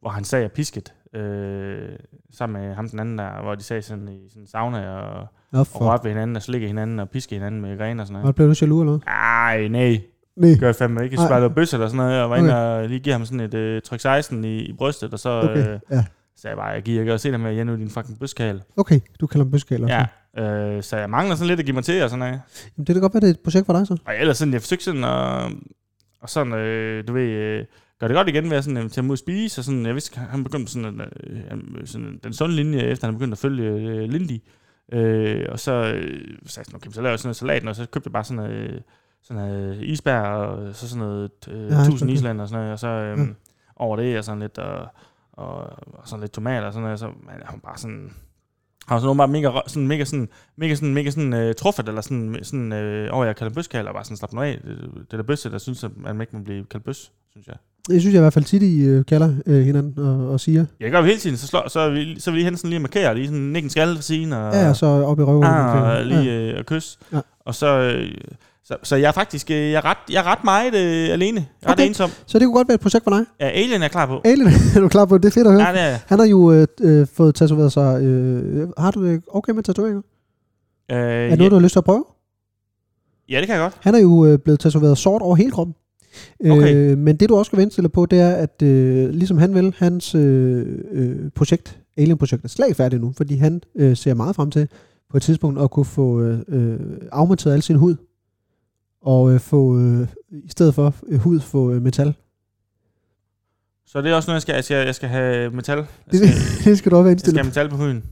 Speaker 4: hvor han sagde pisket, øh, sammen med ham den anden der, hvor de sagde sådan i sådan en sauna og,
Speaker 2: Nå,
Speaker 4: og
Speaker 2: for.
Speaker 4: rørte ved hinanden og slikke hinanden og piske hinanden med grene og sådan noget.
Speaker 2: Og blev du jaloux eller noget?
Speaker 4: Ej, nej.
Speaker 2: Nej.
Speaker 4: gør jeg fandme ikke.
Speaker 2: Nej.
Speaker 4: Jeg noget bøs eller sådan noget, og var inde
Speaker 2: Okay.
Speaker 4: og lige giver ham sådan et øh, tryk 16 i, i brystet, og så
Speaker 2: Okay,
Speaker 4: øh,
Speaker 2: ja.
Speaker 4: sagde jeg bare, jeg giver ikke, og se dig med, jeg nu din fucking bøskal.
Speaker 2: Okay, du kalder ham bøskaler.
Speaker 4: Ja. Øh, så jeg mangler sådan lidt at give mig til, og sådan noget.
Speaker 2: Jamen, det kan da godt være, det er et projekt for dig så.
Speaker 4: Og ellers sådan, jeg forsøgte sådan at, og sådan, øh, du ved, øh, gør det godt igen ved at sådan, øh, tage ham ud at spise, og sådan, jeg vidste, han begyndte sådan, at, øh, han- sådan den sunde linje, efter han begyndte at følge øh, Lindy. Øh, og så øh, sagde jeg sådan, okay, så laver jeg sådan noget salat, og så købte jeg bare sådan noget, øh, sådan noget isbær, og så sådan noget øh,
Speaker 2: Ja,
Speaker 4: ja, 1000
Speaker 2: okay.
Speaker 4: island og sådan noget, og så øh,
Speaker 2: Mm.
Speaker 4: mm. over det, og sådan lidt, og, og, og sådan lidt tomater og sådan noget, og så man, han var bare sådan, han var sådan åbenbart mega, rø- sådan, mega sådan, mega sådan, mega sådan øh, truffet, eller sådan, sådan øh, over, jeg kalder bøskal, eller bare sådan, slap nu af. Det, det er da bøsse, der synes, at man ikke må blive kaldt bøs, synes jeg.
Speaker 2: Jeg synes jeg i hvert fald tit, I øh, kalder øh, hinanden og, og siger.
Speaker 4: Jeg gør det hele tiden, så, slår, så, er vi, så er vi lige hen sådan lige og markerer, lige sådan nikke en skalle for siden, og,
Speaker 2: Ja, ja, så op i røven.
Speaker 4: ah, og
Speaker 2: ja.
Speaker 4: lige øh, og kys.
Speaker 2: Ja.
Speaker 4: Ja. Og så, øh, så, så jeg er faktisk, øh, jeg er ret, jeg er ret meget øh, alene. Jeg er
Speaker 2: Okay.
Speaker 4: ret ensom.
Speaker 2: Så det kunne godt være et projekt for dig.
Speaker 4: Ja, Alien er klar på.
Speaker 2: Alien, *laughs* er du klar på det? Det er fedt at høre.
Speaker 4: Ja, det er jeg.
Speaker 2: Han har jo øh, øh, fået tatoveret sig. Øh, har du det okay med tatoveringer?
Speaker 4: øh,
Speaker 2: Er det noget, du har lyst til at prøve?
Speaker 4: ja, ja, det kan jeg godt.
Speaker 2: Han er jo øh, blevet tatoveret sort over hele kroppen.
Speaker 4: Okay.
Speaker 2: Øh, men det du også skal være indstillet på, det er, at øh, ligesom han vil, hans øh, øh, projekt, Alien-projekt, er slagfærdigt nu, fordi han øh, ser meget frem til på et tidspunkt at kunne få øh, øh, afmonteret al sin hud, og øh, få, øh, i stedet for øh, hud, få øh, metal.
Speaker 4: Så det er også noget, jeg skal, jeg skal, jeg skal have metal. Jeg
Speaker 2: Det,
Speaker 4: skal,
Speaker 2: *laughs* det skal du også være
Speaker 4: jeg skal
Speaker 2: indstillet på.
Speaker 4: have metal på huden.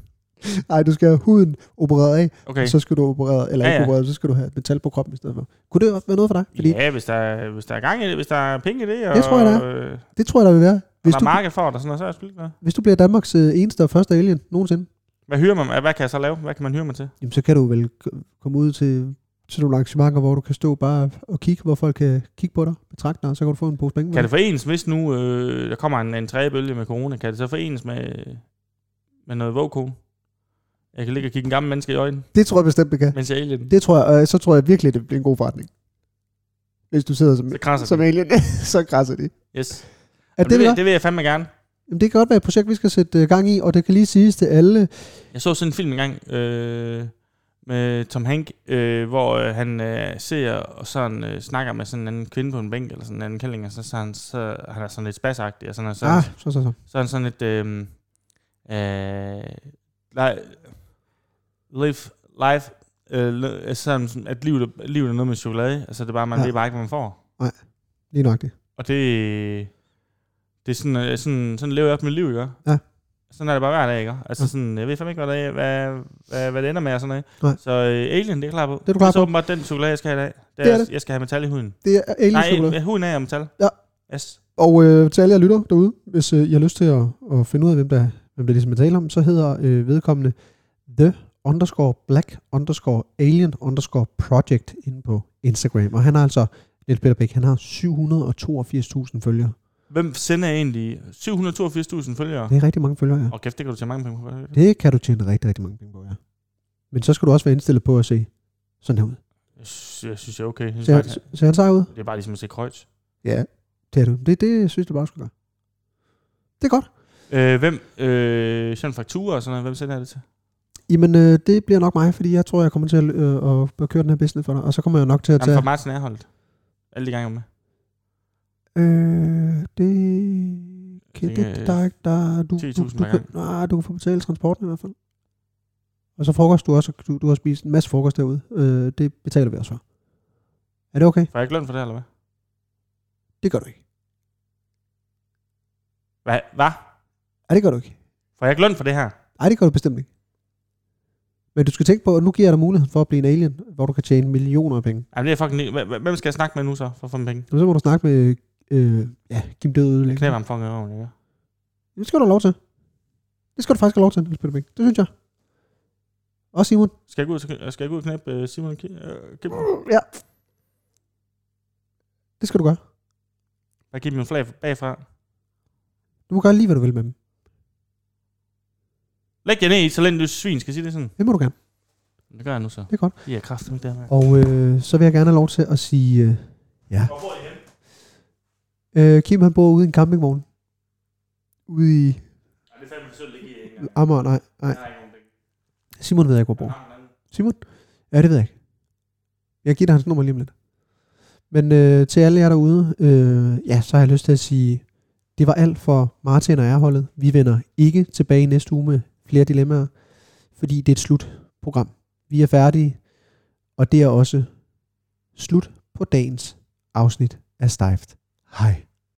Speaker 2: Nej, du skal have huden opereret af,
Speaker 4: Okay.
Speaker 2: så skal du operere, eller
Speaker 4: Ja,
Speaker 2: ikke
Speaker 4: ja.
Speaker 2: opereret, så skal du have metal på kroppen i stedet for. Kunne det også være noget for dig? Fordi
Speaker 4: ja, hvis der, er- hvis der er gang i det, hvis der er penge i det, og,
Speaker 2: Det tror jeg, der
Speaker 4: øh, og
Speaker 2: det tror jeg, der vil være. Hvis
Speaker 4: der
Speaker 2: du,
Speaker 4: er marked for det, og sådan noget, så er jeg sgu ligeglad.
Speaker 2: hvis du bliver Danmarks øh, eneste og første alien nogensinde,
Speaker 4: Hvad hyrer man? Hvad kan jeg så lave? Hvad kan man hyre mig til?
Speaker 2: jamen, så kan du vel k- komme ud til, til nogle arrangementer, hvor du kan stå bare og kigge, hvor folk kan kigge på dig, betragte dig, og så kan du få en pose penge. med.
Speaker 4: Kan det forenes, hvis nu øh, der kommer en, en tredje bølge med corona, kan det så forenes med, med noget vågko? Jeg kan ligge og kigge en gammel menneske i øjnene,
Speaker 2: det tror jeg bestemt, det kan.
Speaker 4: mens jeg er alien.
Speaker 2: Det tror jeg, og så tror jeg virkelig, det bliver en god forretning. Hvis du sidder som,
Speaker 4: Så krasser
Speaker 2: som
Speaker 4: den.
Speaker 2: alien, *laughs* så krasser det.
Speaker 4: Yes.
Speaker 2: Er
Speaker 4: Jamen,
Speaker 2: det, det,
Speaker 4: vil,
Speaker 2: det,
Speaker 4: det vil jeg fandme gerne.
Speaker 2: Jamen, det kan godt være et projekt, vi skal sætte øh, gang i, og det kan lige siges til alle.
Speaker 4: Jeg så sådan en film engang øh, med Tom Hank, øh, hvor øh, han øh, ser og sådan øh, snakker med sådan en anden kvinde på en bænk, eller sådan en anden kælling, og så, så, han, så han er sådan lidt spadsagtig, og sådan, og så,
Speaker 2: Ah,
Speaker 4: ah.
Speaker 2: så, så, så.
Speaker 4: så er han sådan lidt... Øh, øh, nej, live life, øh, le- sådan, sådan, at livet, er- livet er noget med chokolade, altså det er bare, man
Speaker 2: Ja.
Speaker 4: ja. ved bare ikke, hvad man får.
Speaker 2: Lige nok det.
Speaker 4: Og det, det er sådan, øh, sådan, sådan lever jeg også mit liv, ikke?
Speaker 2: Ja.
Speaker 4: Sådan er det bare hver dag, ikke? Altså
Speaker 2: Ja.
Speaker 4: sådan, jeg ved fandme ikke, hvad, det, er- hvad, hvad, hvad det ender med og sådan noget.
Speaker 2: Nej.
Speaker 4: Så øh, Alien, det er klar på.
Speaker 2: er du klar
Speaker 4: så
Speaker 2: på.
Speaker 4: åbenbart den chokolade, jeg skal have i dag. Det er,
Speaker 2: Det er
Speaker 4: det
Speaker 2: det.
Speaker 4: Jeg skal have metal i huden.
Speaker 2: Det er alien
Speaker 4: Nej, huden er af metal.
Speaker 2: Ja.
Speaker 4: Yes.
Speaker 2: Og øh, til alle jer lytter derude, hvis øh, I har lyst til at, at finde ud af, hvem der, hvem der ligesom er tale om, så hedder øh, vedkommende The underscore Black underscore Alien underscore Project inde på Instagram. Og han har altså, Niels Peter Bæk, han har 782.000 følgere.
Speaker 4: Hvem sender egentlig 782.000 følgere?
Speaker 2: Det er rigtig mange følgere, ja.
Speaker 4: Og kæft, det kan du tage mange penge på.
Speaker 2: Det kan du tjene rigtig, rigtig mange penge på, ja. Men så skal du også være indstillet på at se sådan her ud.
Speaker 4: Jeg synes, jeg synes, jeg er okay. Jeg synes,
Speaker 2: Ser,
Speaker 4: faktisk,
Speaker 2: ser han sej ud?
Speaker 4: det er bare ligesom at se Kreutz.
Speaker 2: Ja. Det er du. Det, det synes jeg bare, du skal gøre. Det er godt.
Speaker 4: Øh, hvem, øh, sådan fakturer og sådan noget, hvem sender jeg det til?
Speaker 2: Jamen, øh, det bliver nok mig, fordi jeg tror, jeg kommer til at, øh, at køre den her business for dig, og så kommer jeg nok til at
Speaker 4: Jamen,
Speaker 2: tage...
Speaker 4: for Martin Erholdt. Alle de gange jeg var med.
Speaker 2: Øh, det... Kan, det,
Speaker 4: tænker, øh,
Speaker 2: det der, er ikke- der, du, du,
Speaker 4: 10.000
Speaker 2: du,
Speaker 4: per
Speaker 2: kan, nej, du kan få betalt transporten i hvert fald. Og så frokost, du, også, du, du har spist en masse frokost derude. Øh, det betaler vi også for. Er det okay?
Speaker 4: Får jeg ikke løn for det, eller hvad?
Speaker 2: Det gør du ikke.
Speaker 4: Hvad? Hva?
Speaker 2: Nej, det gør du ikke.
Speaker 4: Får jeg ikke løn for det her?
Speaker 2: Nej, det gør du bestemt ikke. Men du skal tænke på, at nu giver jeg dig muligheden for at blive en alien, hvor du kan tjene millioner af penge.
Speaker 4: Jamen, det er fucking... lige- Hvem hvem skal jeg snakke med nu så, for at få mine penge?
Speaker 2: Og så må du snakke med øh, ja, Kim Døde
Speaker 4: Jeg knæver ham fucking over, ikke?
Speaker 2: Det skal du have lov til. Det skal du faktisk have lov til, Niels Peter Bæk. Det synes jeg. Og Simon.
Speaker 4: Skal jeg gå ud, til- skal jeg gå ud og knæppe øh, Simon Kim? Øh, Kim?
Speaker 2: Ja. Det skal du gøre.
Speaker 4: Bare give dem en flag bagfra.
Speaker 2: Du må gøre lige, hvad du vil med dem.
Speaker 4: Læg jer ned i et talentløs svin, skal jeg sige det sådan?
Speaker 2: Det må du gerne.
Speaker 4: Det gør jeg nu så.
Speaker 2: Det er godt.
Speaker 4: De er kraftigt der, mand.
Speaker 2: Og øh, så vil jeg gerne have lov til at sige... Øh, ja.
Speaker 4: Hvor bor I henne?
Speaker 2: Øh, Kim han bor ude i en campingvogn. Ude i
Speaker 4: Ja, det er fandme forsøgt at ligge i en
Speaker 2: Amager. Nej, nej.
Speaker 4: har ikke nogen penge.
Speaker 2: Simon ved jeg ikke, hvor han bor. Simon? Ja, det ved jeg ikke. Jeg giver dig hans nummer lige om lidt. Men øh, til alle jer derude, øh, ja, så har jeg lyst til at sige, det var alt for Martin og Erholdet. Vi vender ikke tilbage i næste uge med flere dilemmaer, fordi det er et slutprogram. Vi er færdige, og det er også slut på dagens afsnit af Stejft. Hej.